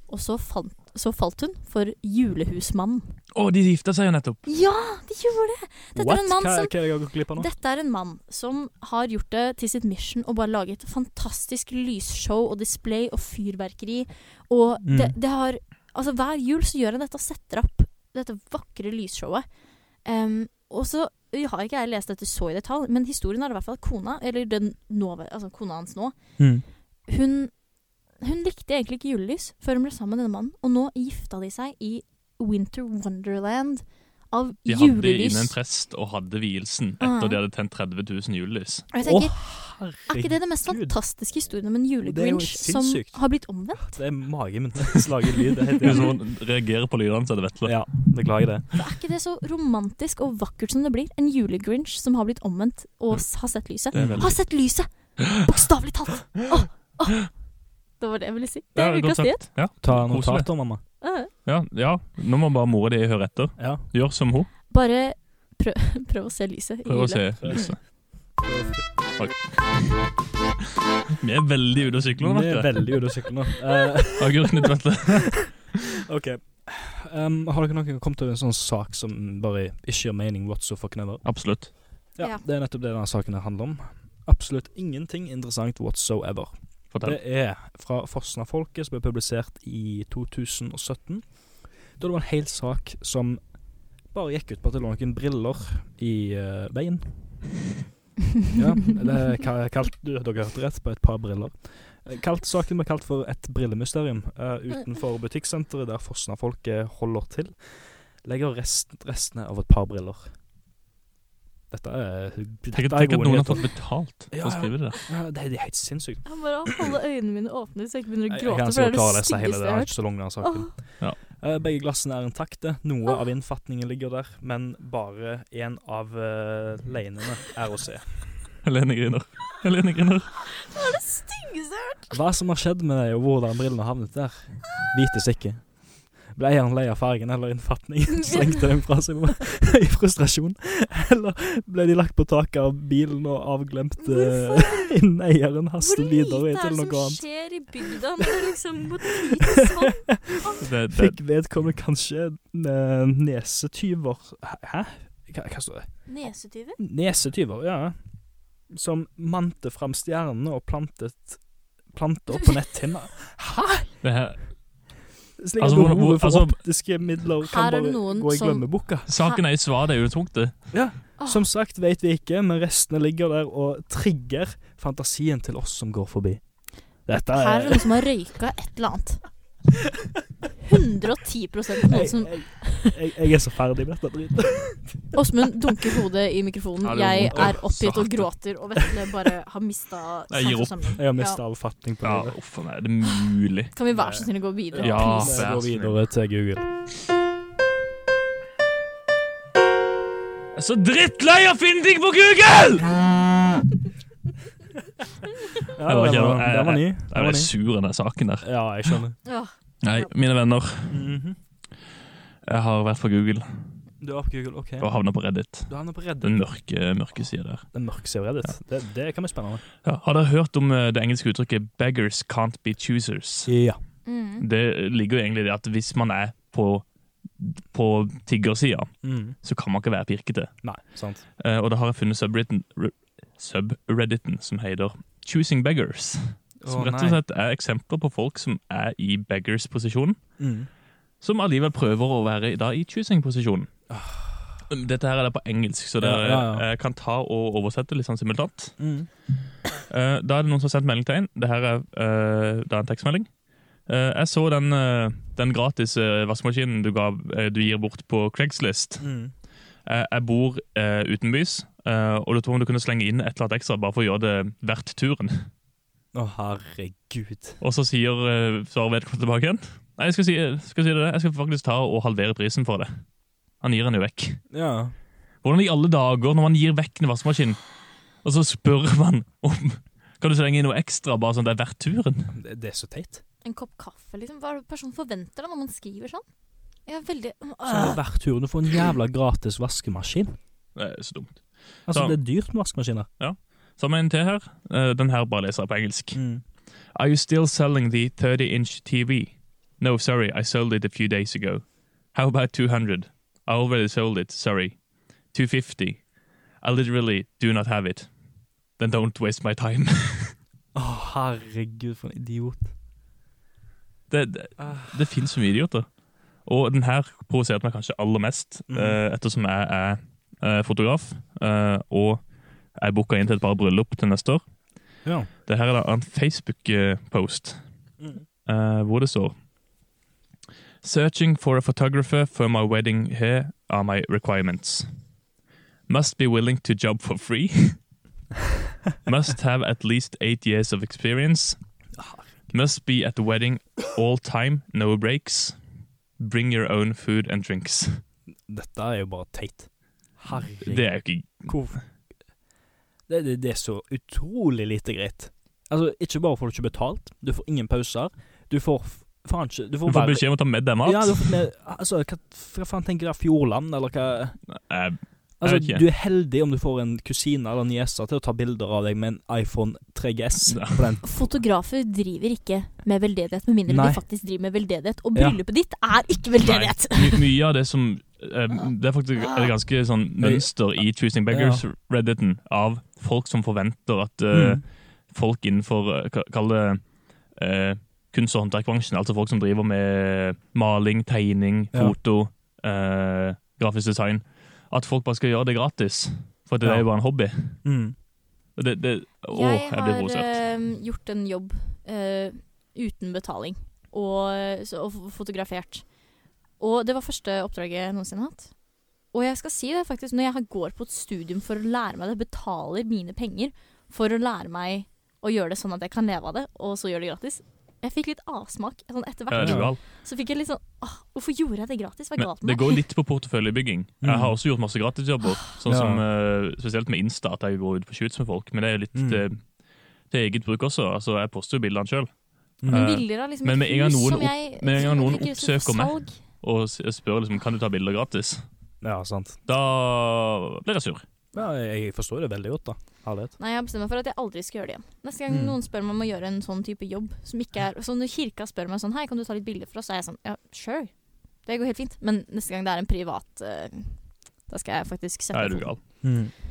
Speaker 1: Og så, fant, så falt hun for julehusmannen.
Speaker 3: Å, de gifta seg jo nettopp.
Speaker 1: Ja, de gjorde det! Dette
Speaker 2: What?
Speaker 1: er en mann
Speaker 2: hva,
Speaker 1: som
Speaker 2: hva er det jeg har gått glipp av nå?
Speaker 1: Dette er en mann som har gjort det til sitt mission å bare lage et fantastisk lysshow og display og fyrverkeri. Og
Speaker 2: Mm.
Speaker 1: det, det har Altså, hver jul så gjør han dette og setter opp dette vakre lysshowet. Em, og så jeg har ikke jeg lest dette så i detalj, men historien er i hvert fall at kona, eller den nåværende, altså kona hans nå,
Speaker 2: Mm.
Speaker 1: hun, hun likte egentlig ikke julelys før hun ble sammen med denne mannen, og nå gifta de seg i Winter Wonderland av
Speaker 3: De hadde
Speaker 1: julelys.
Speaker 3: inne en prest og hadde vielsen
Speaker 1: Ah.
Speaker 3: etter de hadde tent 30 000 julelys.
Speaker 1: Og jeg tenker,
Speaker 2: Å,
Speaker 1: Er ikke det den mest
Speaker 2: herregud.
Speaker 1: fantastiske historien om en
Speaker 2: Det er jo
Speaker 1: julegrinch som
Speaker 2: sinnssykt.
Speaker 1: har blitt omvendt?
Speaker 2: Det er magen min som lager lyd. Det er helt
Speaker 3: Hvis
Speaker 2: jævlig.
Speaker 3: noen reagerer på lydene, så er det vetle.
Speaker 2: Ja, beklager det.
Speaker 1: For Er ikke det så romantisk og vakkert som det blir? En julegrinch som har blitt omvendt og s- har sett lyset.
Speaker 2: Det er veldig-
Speaker 1: Har sett lyset! Bokstavelig talt! Åh, åh. Det var det jeg ville si. Det
Speaker 3: Ja,
Speaker 1: er
Speaker 3: godt
Speaker 1: ukas
Speaker 3: sagt.
Speaker 1: nyhet.
Speaker 3: Ja.
Speaker 2: Ta
Speaker 3: Koselig.
Speaker 2: notater, mamma.
Speaker 1: Ja.
Speaker 3: Ja, ja, nå må bare mora di høre etter.
Speaker 2: Ja.
Speaker 3: Gjør som hun.
Speaker 1: Bare prøv, prøv å se lyset i
Speaker 3: Prøv
Speaker 1: jula.
Speaker 3: å se lyset. Vi er veldig ute å sykle nå,
Speaker 2: Vi er
Speaker 3: vet du.
Speaker 2: veldig ute å sykle nå. Eh,
Speaker 3: Agurknytt, vet du.
Speaker 2: ok. Um, har dere noen gang kommet over en sånn sak som bare ikke gjør mening whatsoever?
Speaker 3: Absolutt.
Speaker 2: Ja,
Speaker 1: Ja.
Speaker 2: Det er nettopp det denne saken her handler om. Absolutt ingenting interessant whatsoever.
Speaker 3: Fortell.
Speaker 2: Det er fra Fosna-folket, som ble publisert i 2017. Da det var en hel sak som bare gikk ut på at det lå noen briller i eh, veien. Ja, det er ka- kalt, du, dere hørte rett på et par briller. Eh, Kalt, saken ble kalt for et brillemysterium eh, utenfor butikksenteret der Fosna-folket holder til. Legger rest, restene av et par briller. Dette er, dette
Speaker 3: Tenk,
Speaker 2: er
Speaker 3: at- tenk at
Speaker 2: gode
Speaker 3: noen har
Speaker 2: nyheter.
Speaker 3: fått betalt for
Speaker 2: Ja,
Speaker 3: å
Speaker 2: ja.
Speaker 3: skrive det der.
Speaker 2: Ja, det, er- det er helt sinnssykt.
Speaker 1: Jeg må bare holde øynene mine åpne så jeg ikke begynner å
Speaker 2: Jeg, jeg
Speaker 1: gråte.
Speaker 2: kan
Speaker 1: for det
Speaker 2: sikkert
Speaker 1: er
Speaker 2: klare å
Speaker 1: det
Speaker 2: lese
Speaker 1: styggeste
Speaker 2: hele det.
Speaker 1: jeg
Speaker 2: Det
Speaker 1: har
Speaker 2: er
Speaker 1: hørt.
Speaker 2: ikke så lang, den saken. Eh, Begge glassene er intakte. Noe
Speaker 1: Åh.
Speaker 2: av innfatningen ligger der, men bare én av eh, leinene er å se.
Speaker 3: Helene griner. Helene griner.
Speaker 1: Åh, det er det styggeste jeg har hørt!
Speaker 2: Hva som har skjedd med deg, og hvordan brillene havnet der, vites ikke. Ble han lei av fargen eller innfatningen, slengte den fra seg i frustrasjon? Eller ble de lagt på taket av bilen og avglemt eh, innen eieren
Speaker 1: Hvor
Speaker 2: hastet
Speaker 1: lite
Speaker 2: videre
Speaker 1: er
Speaker 2: til
Speaker 1: det
Speaker 2: noe
Speaker 1: som
Speaker 2: annet?
Speaker 1: skjer i bygda når det liksom går til sånn?
Speaker 3: Det, det,
Speaker 2: Fikk vedkommende kanskje eh, nesetyver Hæ? Hva, hva står det?
Speaker 1: Nesetyver?
Speaker 2: Nesetyver, ja. Som mante fram stjernene og plantet planter på netthinna.
Speaker 3: det her.
Speaker 2: Slik at
Speaker 3: Altså, hvor- hvor-
Speaker 2: behovet for
Speaker 3: altså-
Speaker 2: optiske midler kan
Speaker 1: Her er det
Speaker 2: bare
Speaker 1: noen
Speaker 2: gå i
Speaker 1: som-
Speaker 2: glemmeboka.
Speaker 3: Saken er i svaret, det er jo tungt, det.
Speaker 2: Som sagt vet vi ikke, men restene ligger der og trigger fantasien til oss som går forbi. Dette
Speaker 1: Her er
Speaker 2: er
Speaker 1: det noen som har røyka et eller annet. 110 på noen
Speaker 2: jeg,
Speaker 1: som
Speaker 2: jeg, jeg, jeg er så ferdig med dette dritet.
Speaker 1: Åsmund dunker hodet i mikrofonen.
Speaker 3: Ja, det gjør
Speaker 1: Jeg
Speaker 3: vondt, ja.
Speaker 1: er oppgitt og
Speaker 3: Satan.
Speaker 1: gråter, og Vetle bare har mista
Speaker 3: Jeg gir opp.
Speaker 1: sansesamling.
Speaker 2: Jeg har mista all fatning på
Speaker 3: Ja,
Speaker 2: livet.
Speaker 3: uff a meg, er det mulig?
Speaker 1: Kan vi være så snill å gå videre?
Speaker 3: Ja,
Speaker 1: please?
Speaker 2: Vi
Speaker 3: vær
Speaker 2: går
Speaker 3: så snill.
Speaker 2: videre til Google.
Speaker 3: Jeg er så drittlei av å finne ting på Google!
Speaker 2: Ja,
Speaker 3: Jeg var ikke-
Speaker 2: den var,
Speaker 3: jeg-
Speaker 2: den var ny. Den
Speaker 3: Jeg
Speaker 2: var
Speaker 3: ble
Speaker 2: ny.
Speaker 3: sur av den saken der.
Speaker 2: Ja, jeg skjønner.
Speaker 1: Ja.
Speaker 3: Nei, mine venner.
Speaker 2: Mhm.
Speaker 3: Jeg har vært på Google
Speaker 2: Du er på Google, OK.
Speaker 3: og havna på Reddit.
Speaker 2: Du havner på Reddit.
Speaker 3: Den mørke, mørke sida der.
Speaker 2: Den mørke siden av Reddit. Det, det kan bli spennende.
Speaker 3: Ja, har dere hørt om eh, det engelske uttrykket 'beggars can't be choosers'?
Speaker 2: Ja.
Speaker 1: Mm.
Speaker 3: Det ligger jo egentlig i det at hvis man er på, på tiggersida,
Speaker 2: Mm.
Speaker 3: så kan man ikke være pirkete.
Speaker 2: Nei, sant.
Speaker 3: Eh, og da har jeg funnet subredditen, re- subredditen som heter 'Choosing Beggars'. Som rett og slett er eksempler på folk som er i beggars-posisjon,
Speaker 2: Mm.
Speaker 3: som allikevel prøver å være da i choosing-posisjon. Dette her er det på engelsk, så dere
Speaker 2: Ah. Ja, ja, ja.
Speaker 3: eh, kan ta og oversette litt sånn simultant.
Speaker 2: Mm.
Speaker 3: Eh, da er det noen som har sendt melding til en. Det her er, eh, det er en tekstmelding. Eh, jeg så den, eh, den gratis eh, vaskemaskinen du, ga, eh, du gir bort på Craigslist.
Speaker 2: Mm.
Speaker 3: Eh, jeg bor eh, utenbys, eh, og du tror om du kunne slenge inn et eller annet ekstra bare for å gjøre det verdt turen.
Speaker 2: Å, herregud.
Speaker 3: Og så sier uh, svarer vedkommende tilbake igjen. Nei, jeg skal si, skal si det. Jeg skal faktisk ta og halvere prisen for det. Han gir den jo vekk.
Speaker 2: Ja.
Speaker 3: Hvordan i alle dager, når man gir vekk en vaskemaskin, og så spør man om Kan du slenge inn noe ekstra, bare sånn at det er verdt turen?
Speaker 2: Det, det er så teit.
Speaker 1: En kopp kaffe, liksom. Hva er det personen forventer da når man skriver sånn? Jeg er veldig
Speaker 2: Så
Speaker 3: Ah.
Speaker 2: er det
Speaker 1: Øh.
Speaker 2: verdt turen å få en jævla gratis vaskemaskin.
Speaker 3: Det er så dumt.
Speaker 2: Altså,
Speaker 3: Så-
Speaker 2: det er dyrt med vaskemaskiner.
Speaker 3: Så har vi en til her. Eh, Den her bare leser jeg på engelsk.
Speaker 2: Mm.
Speaker 3: Are you still selling the 30-inch TV? No, sorry, I sold it a few days ago. How about 200? I already sold it, sorry. 250. I literally do not have it. Then don't waste my time.
Speaker 2: Å, herregud, for en idiot.
Speaker 3: det det, det finnes så mye idioter. Og den her provoserte meg kanskje aller mest,
Speaker 2: Mhm.
Speaker 3: eh, ettersom jeg er eh, fotograf, eh, og jeg booka inn til et par bryllup til neste år.
Speaker 2: Ja.
Speaker 3: Det her er da en eh, Facebook-post
Speaker 2: Mm.
Speaker 3: eh, hvor det står Searching for a photographer for my wedding here are my requirements. Must be willing to job for free. Must have at least eight years of experience. Must be at the wedding all time, no breaks. Bring your own food and drinks.
Speaker 2: Dette er jo bare teit. Herregud.
Speaker 3: Det er jo ikke
Speaker 2: Hvor- Det, det, det er så utrolig lite greit. Altså, ikke bare får du ikke betalt, du får ingen pauser, du får f- faen ikke Du får,
Speaker 3: Du får
Speaker 2: være-
Speaker 3: beskjed om å ta med deg mat.
Speaker 2: Ja, du får med, altså, hva, hva faen tenker du der? Fjordland, eller hva?
Speaker 3: Eh,
Speaker 2: Altså,
Speaker 3: Jeg vet ikke.
Speaker 2: du er heldig om du får en kusine eller niese til å ta bilder av deg med en iPhone 3GS.
Speaker 3: Ja.
Speaker 2: På den.
Speaker 1: Fotografer driver ikke med veldedighet, med mindre
Speaker 2: Nei.
Speaker 1: de faktisk driver med veldedighet. Og
Speaker 2: Ja.
Speaker 1: bryllupet ditt er ikke veldedighet!
Speaker 3: My, mye av det som eh, Det er faktisk et ganske sånn
Speaker 2: Ah.
Speaker 3: mønster i Choosing Beggars-redditen av folk som forventer at eh,
Speaker 2: Mm.
Speaker 3: folk innenfor eh, ka- Kall det eh, kunst- og håndverkbransjen, altså folk som driver med maling, tegning,
Speaker 2: Ja.
Speaker 3: foto, eh, grafisk design, at folk bare skal gjøre det gratis. For det
Speaker 2: Ja.
Speaker 3: er jo bare en hobby.
Speaker 2: Mm.
Speaker 3: Og Det, det, å,
Speaker 1: jeg
Speaker 3: jeg
Speaker 1: har
Speaker 3: blir provosert.
Speaker 1: eh, gjort en jobb eh, uten betaling eh, og, så, og f- fotografert. Og det var første oppdraget jeg noensinne har hatt. og jeg skal si det faktisk, når jeg har- går på et studium for å lære meg det, betaler mine penger for å lære meg å gjøre det sånn at jeg kan leve av det, og så gjøre det gratis. Jeg fikk litt avsmak sånn etter
Speaker 3: Ja, er
Speaker 1: hvert.
Speaker 3: du gal?
Speaker 1: Så fikk jeg litt sånn Åh, Hvorfor gjorde jeg det gratis? Hva er
Speaker 3: Men
Speaker 1: galt med
Speaker 3: det
Speaker 1: meg?
Speaker 3: går litt på porteføljebygging. Jeg har også gjort masse gratisjobber,
Speaker 2: Mm.
Speaker 3: sånn
Speaker 2: Ja.
Speaker 3: som, eh, spesielt med Insta, at jeg går ut på shoots med folk. Men det er litt
Speaker 2: Mm.
Speaker 3: eh, til eget bruk også. Altså, jeg poster jo bildene sjøl.
Speaker 2: Mm.
Speaker 1: Men
Speaker 3: Eh,
Speaker 1: bilder av liksom
Speaker 3: men med en gang
Speaker 1: et hus
Speaker 3: noen
Speaker 1: som
Speaker 3: opp-
Speaker 1: jeg
Speaker 3: med en gang
Speaker 1: som
Speaker 3: noen
Speaker 1: jeg fikk ut
Speaker 3: oppsøker
Speaker 1: for
Speaker 3: meg.
Speaker 1: salg.
Speaker 3: Og s- spør liksom, kan du ta bilder gratis.
Speaker 2: Ja, sant.
Speaker 3: Da blir jeg sur.
Speaker 2: Ja, jeg forstår det veldig godt, da. Herlighet.
Speaker 1: Nei, jeg har bestemt meg for at jeg aldri skal gjøre det igjen. Neste gang
Speaker 2: Mm.
Speaker 1: noen spør meg om å gjøre en sånn type jobb som ikke er Så når kirka spør meg sånn Hei, kan du ta litt bilder for oss? Så er jeg sånn Ja, sure. Det går helt fint. Men neste gang det er en privat eh, Da skal jeg faktisk
Speaker 3: Da
Speaker 1: sette sånn.
Speaker 3: er du
Speaker 1: foten.
Speaker 3: gal.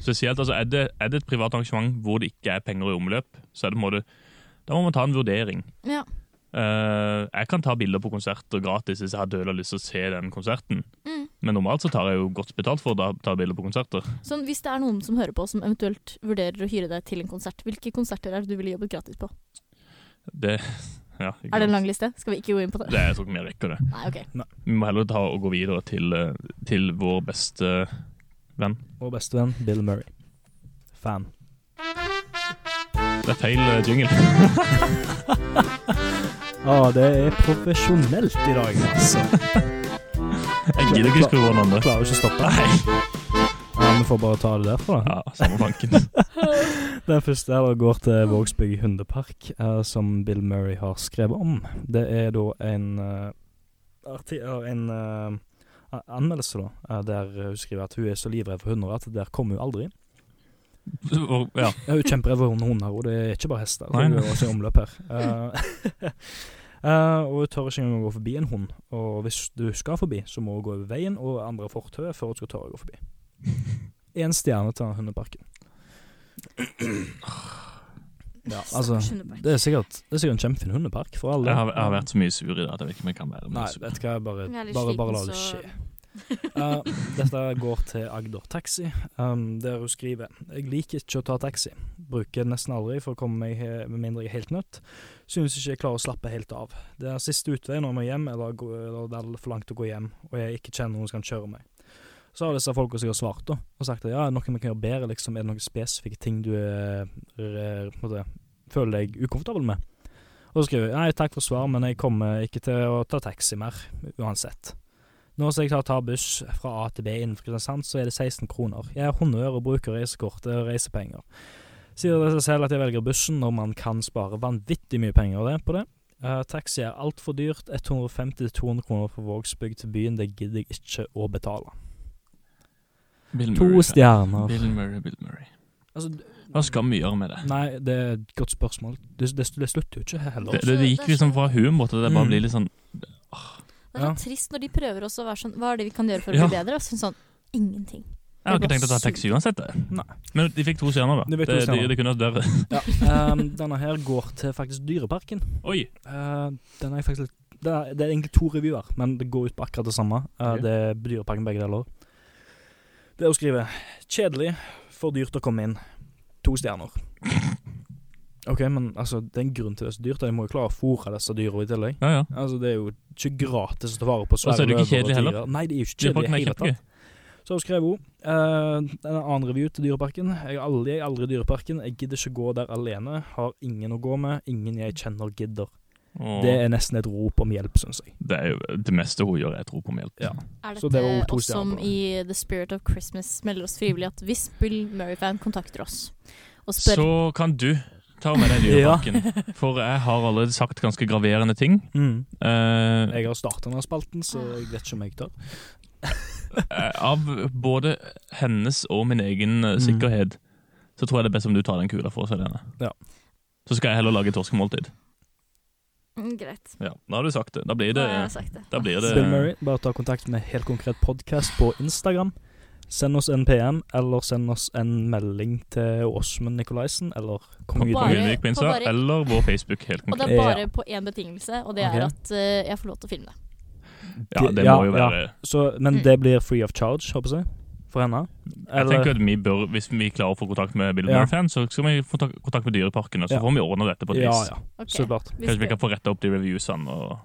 Speaker 3: Spesielt altså, er, det, er det et privat arrangement hvor det ikke er penger i omløp, så er det på en måte, da må man ta en vurdering.
Speaker 1: Ja.
Speaker 3: Eh, jeg kan ta bilder på konserter gratis hvis jeg har døla lyst til å se den konserten.
Speaker 1: Mm.
Speaker 3: Men normalt så tar jeg jo godt betalt for å da- ta bilder på konserter.
Speaker 1: Sånn, hvis det er noen som hører på, som eventuelt vurderer å hyre deg til en konsert, hvilke konserter er det du ville jobbet gratis på?
Speaker 3: Det, ja,
Speaker 1: Er
Speaker 3: ikke
Speaker 1: det en
Speaker 3: sant.
Speaker 1: lang liste? Skal vi ikke gå inn på det?
Speaker 3: Det, jeg tror ikke vi rekker det.
Speaker 1: Nei, OK.
Speaker 3: Vi må heller ta og gå videre til, eh, til vår beste venn.
Speaker 2: Vår beste venn Bill Murray. Fan.
Speaker 3: Det er feil eh, jingle.
Speaker 2: ah, det er profesjonelt i dag, altså.
Speaker 3: Jeg gidder ikke skru over den andre.
Speaker 2: Klarer ikke å stoppe.
Speaker 3: Nei.
Speaker 2: Ja, Vi får bare ta det derfra, da.
Speaker 3: Ja, samme tanken.
Speaker 2: Den første her da går til Vågsbygg hundepark, eh, som Bill Murray har skrevet om. Det er da en eh, arti eller en eh, a- anmeldelse, da, eh, der hun skriver at hun er så livredd for hunder at der kommer hun aldri.
Speaker 3: Og- Ja.
Speaker 2: Ja, hun kjemper over noen hunder, og det er ikke bare hester.
Speaker 3: Nei,
Speaker 2: Hun
Speaker 3: nei.
Speaker 2: er også i omløp her. Eh, eh, og hun tør ikke engang å gå forbi en hund. Og hvis du skal forbi, så må hun gå over veien og andre fortauet før hun skal tørre å gå forbi. Én stjerne til hundeparken. Ja, altså Det er sikkert, det er sikkert en kjempefin hundepark for alle.
Speaker 3: Jeg har, jeg har vært så mye sur i dag at jeg vet ikke om jeg kan være
Speaker 2: Nei,
Speaker 3: mer sur.
Speaker 2: vet du hva, bare,
Speaker 1: Jeg er litt
Speaker 2: bare, bare la
Speaker 1: sliten,
Speaker 2: det
Speaker 1: så-
Speaker 2: skje. Eh, dette går til Agder Taxi, ehm, der hun skriver Jeg liker ikke å ta taxi. Bruker den nesten aldri for å komme meg he med mindre jeg er helt nødt. Synes ikke jeg klarer å slappe helt av. Det er siste utvei når jeg må hjem, eller, gå, eller det er for langt å gå hjem, og jeg ikke kjenner noen som kan kjøre meg. Så har disse folka sikkert svart da, og sagt at ja, er det noe vi kan gjøre bedre, liksom. Er det noen spesifikke ting du er, er, på en måte, føler deg ukomfortabel med? Og så skriver jeg nei, takk for svar, men jeg kommer ikke til å ta taxi mer, uansett. Nå som jeg tar, tar buss fra A til B innenfor Kristiansand, så er det 16 kroner. Jeg er honnør og bruker reisekort og reisepenger. Sier det seg selv at jeg velger bussen når man kan spare vanvittig mye penger det- på det. Eh, taxi er altfor dyrt, 150-200 kroner fra Vågsbygd til byen, det gidder jeg ikke å betale.
Speaker 3: Bill
Speaker 2: To
Speaker 3: Murray,
Speaker 2: stjerner.
Speaker 3: Bill Murray, Bill Murray.
Speaker 2: Altså,
Speaker 3: Hva skal vi gjøre med det?
Speaker 2: nei, det er et godt spørsmål. Det, det, det slutter jo ikke heller.
Speaker 3: Det, det, det gikk liksom fra humor til det
Speaker 2: Mm.
Speaker 3: bare blir litt sånn
Speaker 1: Det er så
Speaker 2: Ja.
Speaker 1: trist når de prøver også å være sånn Hva er det vi kan gjøre for å
Speaker 3: Ja.
Speaker 1: bli bedre? Og så er det sånn Ingenting.
Speaker 3: Jeg har ikke tenkt å ta taxi uansett. det.
Speaker 2: Nei.
Speaker 3: Men de fikk to stjerner, da.
Speaker 2: De fikk to
Speaker 3: Det, de,
Speaker 2: stjerner.
Speaker 3: de kunne hatt dørre.
Speaker 2: Ja, ehm, denne her går til faktisk Dyreparken.
Speaker 3: Oi!
Speaker 2: Eh, den er faktisk litt det er, det er egentlig to revyer, men det går ut på akkurat det samme. Eh,
Speaker 3: Ok.
Speaker 2: Det er Dyreparken begge deler. Det er å skrive 'Kjedelig. For dyrt å komme inn'. To stjerner. OK, men altså, det er en grunn til det er så dyrt. og De må jo klare å fôre disse dyra i tillegg.
Speaker 3: Ja, ja.
Speaker 2: Altså, Det er jo ikke gratis å ta vare på
Speaker 3: så er
Speaker 2: svære
Speaker 3: det ikke
Speaker 2: løver og
Speaker 3: kjedelig heller.
Speaker 2: tigrer. Nei, det er jo ikke kjedelig i
Speaker 3: Dyreparken
Speaker 2: det
Speaker 3: er
Speaker 2: hele tatt.
Speaker 3: kjempegøy.
Speaker 2: Så skrev hun uh, en annen review til Dyreparken. Jeg er aldri, jeg er aldri i Dyreparken. Jeg gidder ikke gå der alene. Har ingen å gå med. Ingen jeg kjenner gidder.
Speaker 3: Og
Speaker 2: Det er nesten et rop om hjelp, syns jeg.
Speaker 3: det er jo det meste hun gjør, jeg tror på med hjelp.
Speaker 2: Ja.
Speaker 1: Er
Speaker 2: Så det
Speaker 1: dette
Speaker 2: var to
Speaker 1: oss som
Speaker 2: stjerner på
Speaker 1: i The Spirit of Christmas melder oss frivillig at hvis Bill Murray-fan kontakter oss og spør
Speaker 3: Så kan du ta med deg Dyreparken. For jeg har allerede sagt ganske graverende ting. Eh,
Speaker 2: Jeg har starta denne spalten, så jeg vet ikke om jeg tør.
Speaker 3: eh, av både hennes og min egen eh,
Speaker 2: Mm.
Speaker 3: sikkerhet, så tror jeg det er best om du tar den kula for oss, Helene.
Speaker 2: Ja.
Speaker 3: Så skal jeg heller lage torskemåltid.
Speaker 1: Mm, Greit.
Speaker 3: Ja, da har du sagt det. Da blir
Speaker 1: Da
Speaker 3: det
Speaker 1: har jeg sagt det.
Speaker 3: da blir det-
Speaker 2: Bill Murray, bare ta kontakt med Helt konkret podkast på Instagram. Send oss en PM, eller send oss en melding til Åsmund Nikolaisen, eller Kong
Speaker 3: Kongen
Speaker 1: Bare-
Speaker 2: Ydmyk.
Speaker 3: Ydmyk på Insta,
Speaker 1: og bare-
Speaker 3: eller vår Facebook. helt
Speaker 1: Og det
Speaker 3: konkret.
Speaker 1: er bare
Speaker 2: Ja.
Speaker 1: på én betingelse, og det er
Speaker 2: Ok.
Speaker 1: at eh, jeg får lov til å filme det.
Speaker 3: Ja, det
Speaker 2: Ja,
Speaker 3: må jo
Speaker 2: ja.
Speaker 3: være
Speaker 2: Så- Men
Speaker 1: Mm.
Speaker 2: det blir free of charge, håper jeg. for henne.
Speaker 3: Jeg tenker at vi bør, Hvis vi klarer å få kontakt med Bill
Speaker 2: Ja.
Speaker 3: Murray-fans, så skal vi få ta- kontakt med Dyreparken. og Så
Speaker 2: Ja.
Speaker 3: får vi ordna dette på et
Speaker 2: ja,
Speaker 3: vis.
Speaker 2: ja,
Speaker 1: Ok,
Speaker 2: så klart.
Speaker 1: vi
Speaker 3: Kanskje vi
Speaker 1: skal-
Speaker 3: kan få retta opp de reviewsene. Og...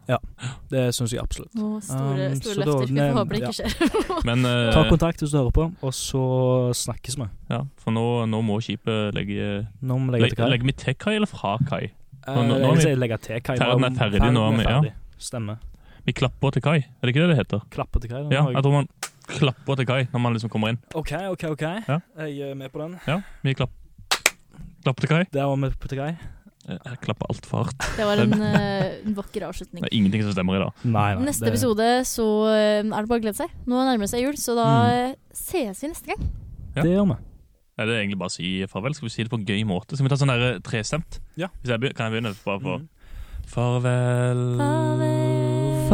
Speaker 2: Det syns jeg absolutt.
Speaker 1: Å, store,
Speaker 2: Um,
Speaker 1: store
Speaker 2: så da
Speaker 1: løfter. Vi
Speaker 2: nevn-
Speaker 1: får håpe det ikke skjer.
Speaker 3: Men eh,
Speaker 2: Ta kontakt hvis du hører på, og så snakkes vi.
Speaker 3: ja, for nå, nå må skipet legge
Speaker 2: Nå må vi legge
Speaker 3: Legger
Speaker 2: til kai.
Speaker 3: legge vi til kai eller fra kai?
Speaker 2: Eh,
Speaker 3: nå- nå er
Speaker 2: jeg vil
Speaker 3: vi-
Speaker 2: si legge til kai.
Speaker 3: Ferden er
Speaker 2: Nå-
Speaker 3: ferdig,
Speaker 2: ferden
Speaker 3: nå er vi- ja.
Speaker 2: ferdig. Stemmer.
Speaker 3: Vi klapper til kai, er det ikke det det heter?
Speaker 2: Klappe til kai. da.
Speaker 3: Ja,
Speaker 2: Nå har jeg-
Speaker 3: jeg tror man klapper til kai når man liksom kommer inn.
Speaker 2: OK, OK, OK.
Speaker 3: Ja.
Speaker 2: Jeg er med på den.
Speaker 3: Ja, vi klapp, klapper til kai.
Speaker 2: Der var vi på til kai.
Speaker 3: Eh, Jeg klapper altfor hardt.
Speaker 1: Det var en, eh, en vakker avslutning.
Speaker 3: Det er ingenting som stemmer i dag.
Speaker 2: Nei,
Speaker 1: Neste episode så eh, er det bare å glede seg. Nå nærmer det seg jul, så da
Speaker 2: Mm.
Speaker 1: eh, sees vi neste gang.
Speaker 3: Ja.
Speaker 2: Det gjør vi.
Speaker 3: Er det egentlig bare å si farvel? Skal vi si det på en gøy måte? Skal vi ta sånn der eh, trestemt?
Speaker 2: Ja.
Speaker 3: Hvis jeg begyn- kan jeg begynne? Bare for
Speaker 2: Mm.
Speaker 3: Farvel.
Speaker 1: Farvel.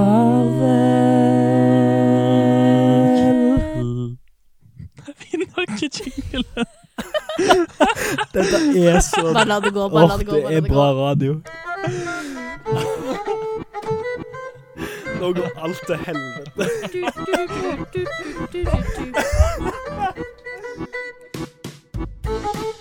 Speaker 2: Farvel.
Speaker 3: Finner ikke jingle.
Speaker 2: Dette er så
Speaker 1: Bare la det gå, bare
Speaker 2: Åh,
Speaker 1: la det gå. Bare la det gå.
Speaker 2: det er bra radio. Nå går alt til helvete.
Speaker 1: Du, du, du, du, du, du, du, du.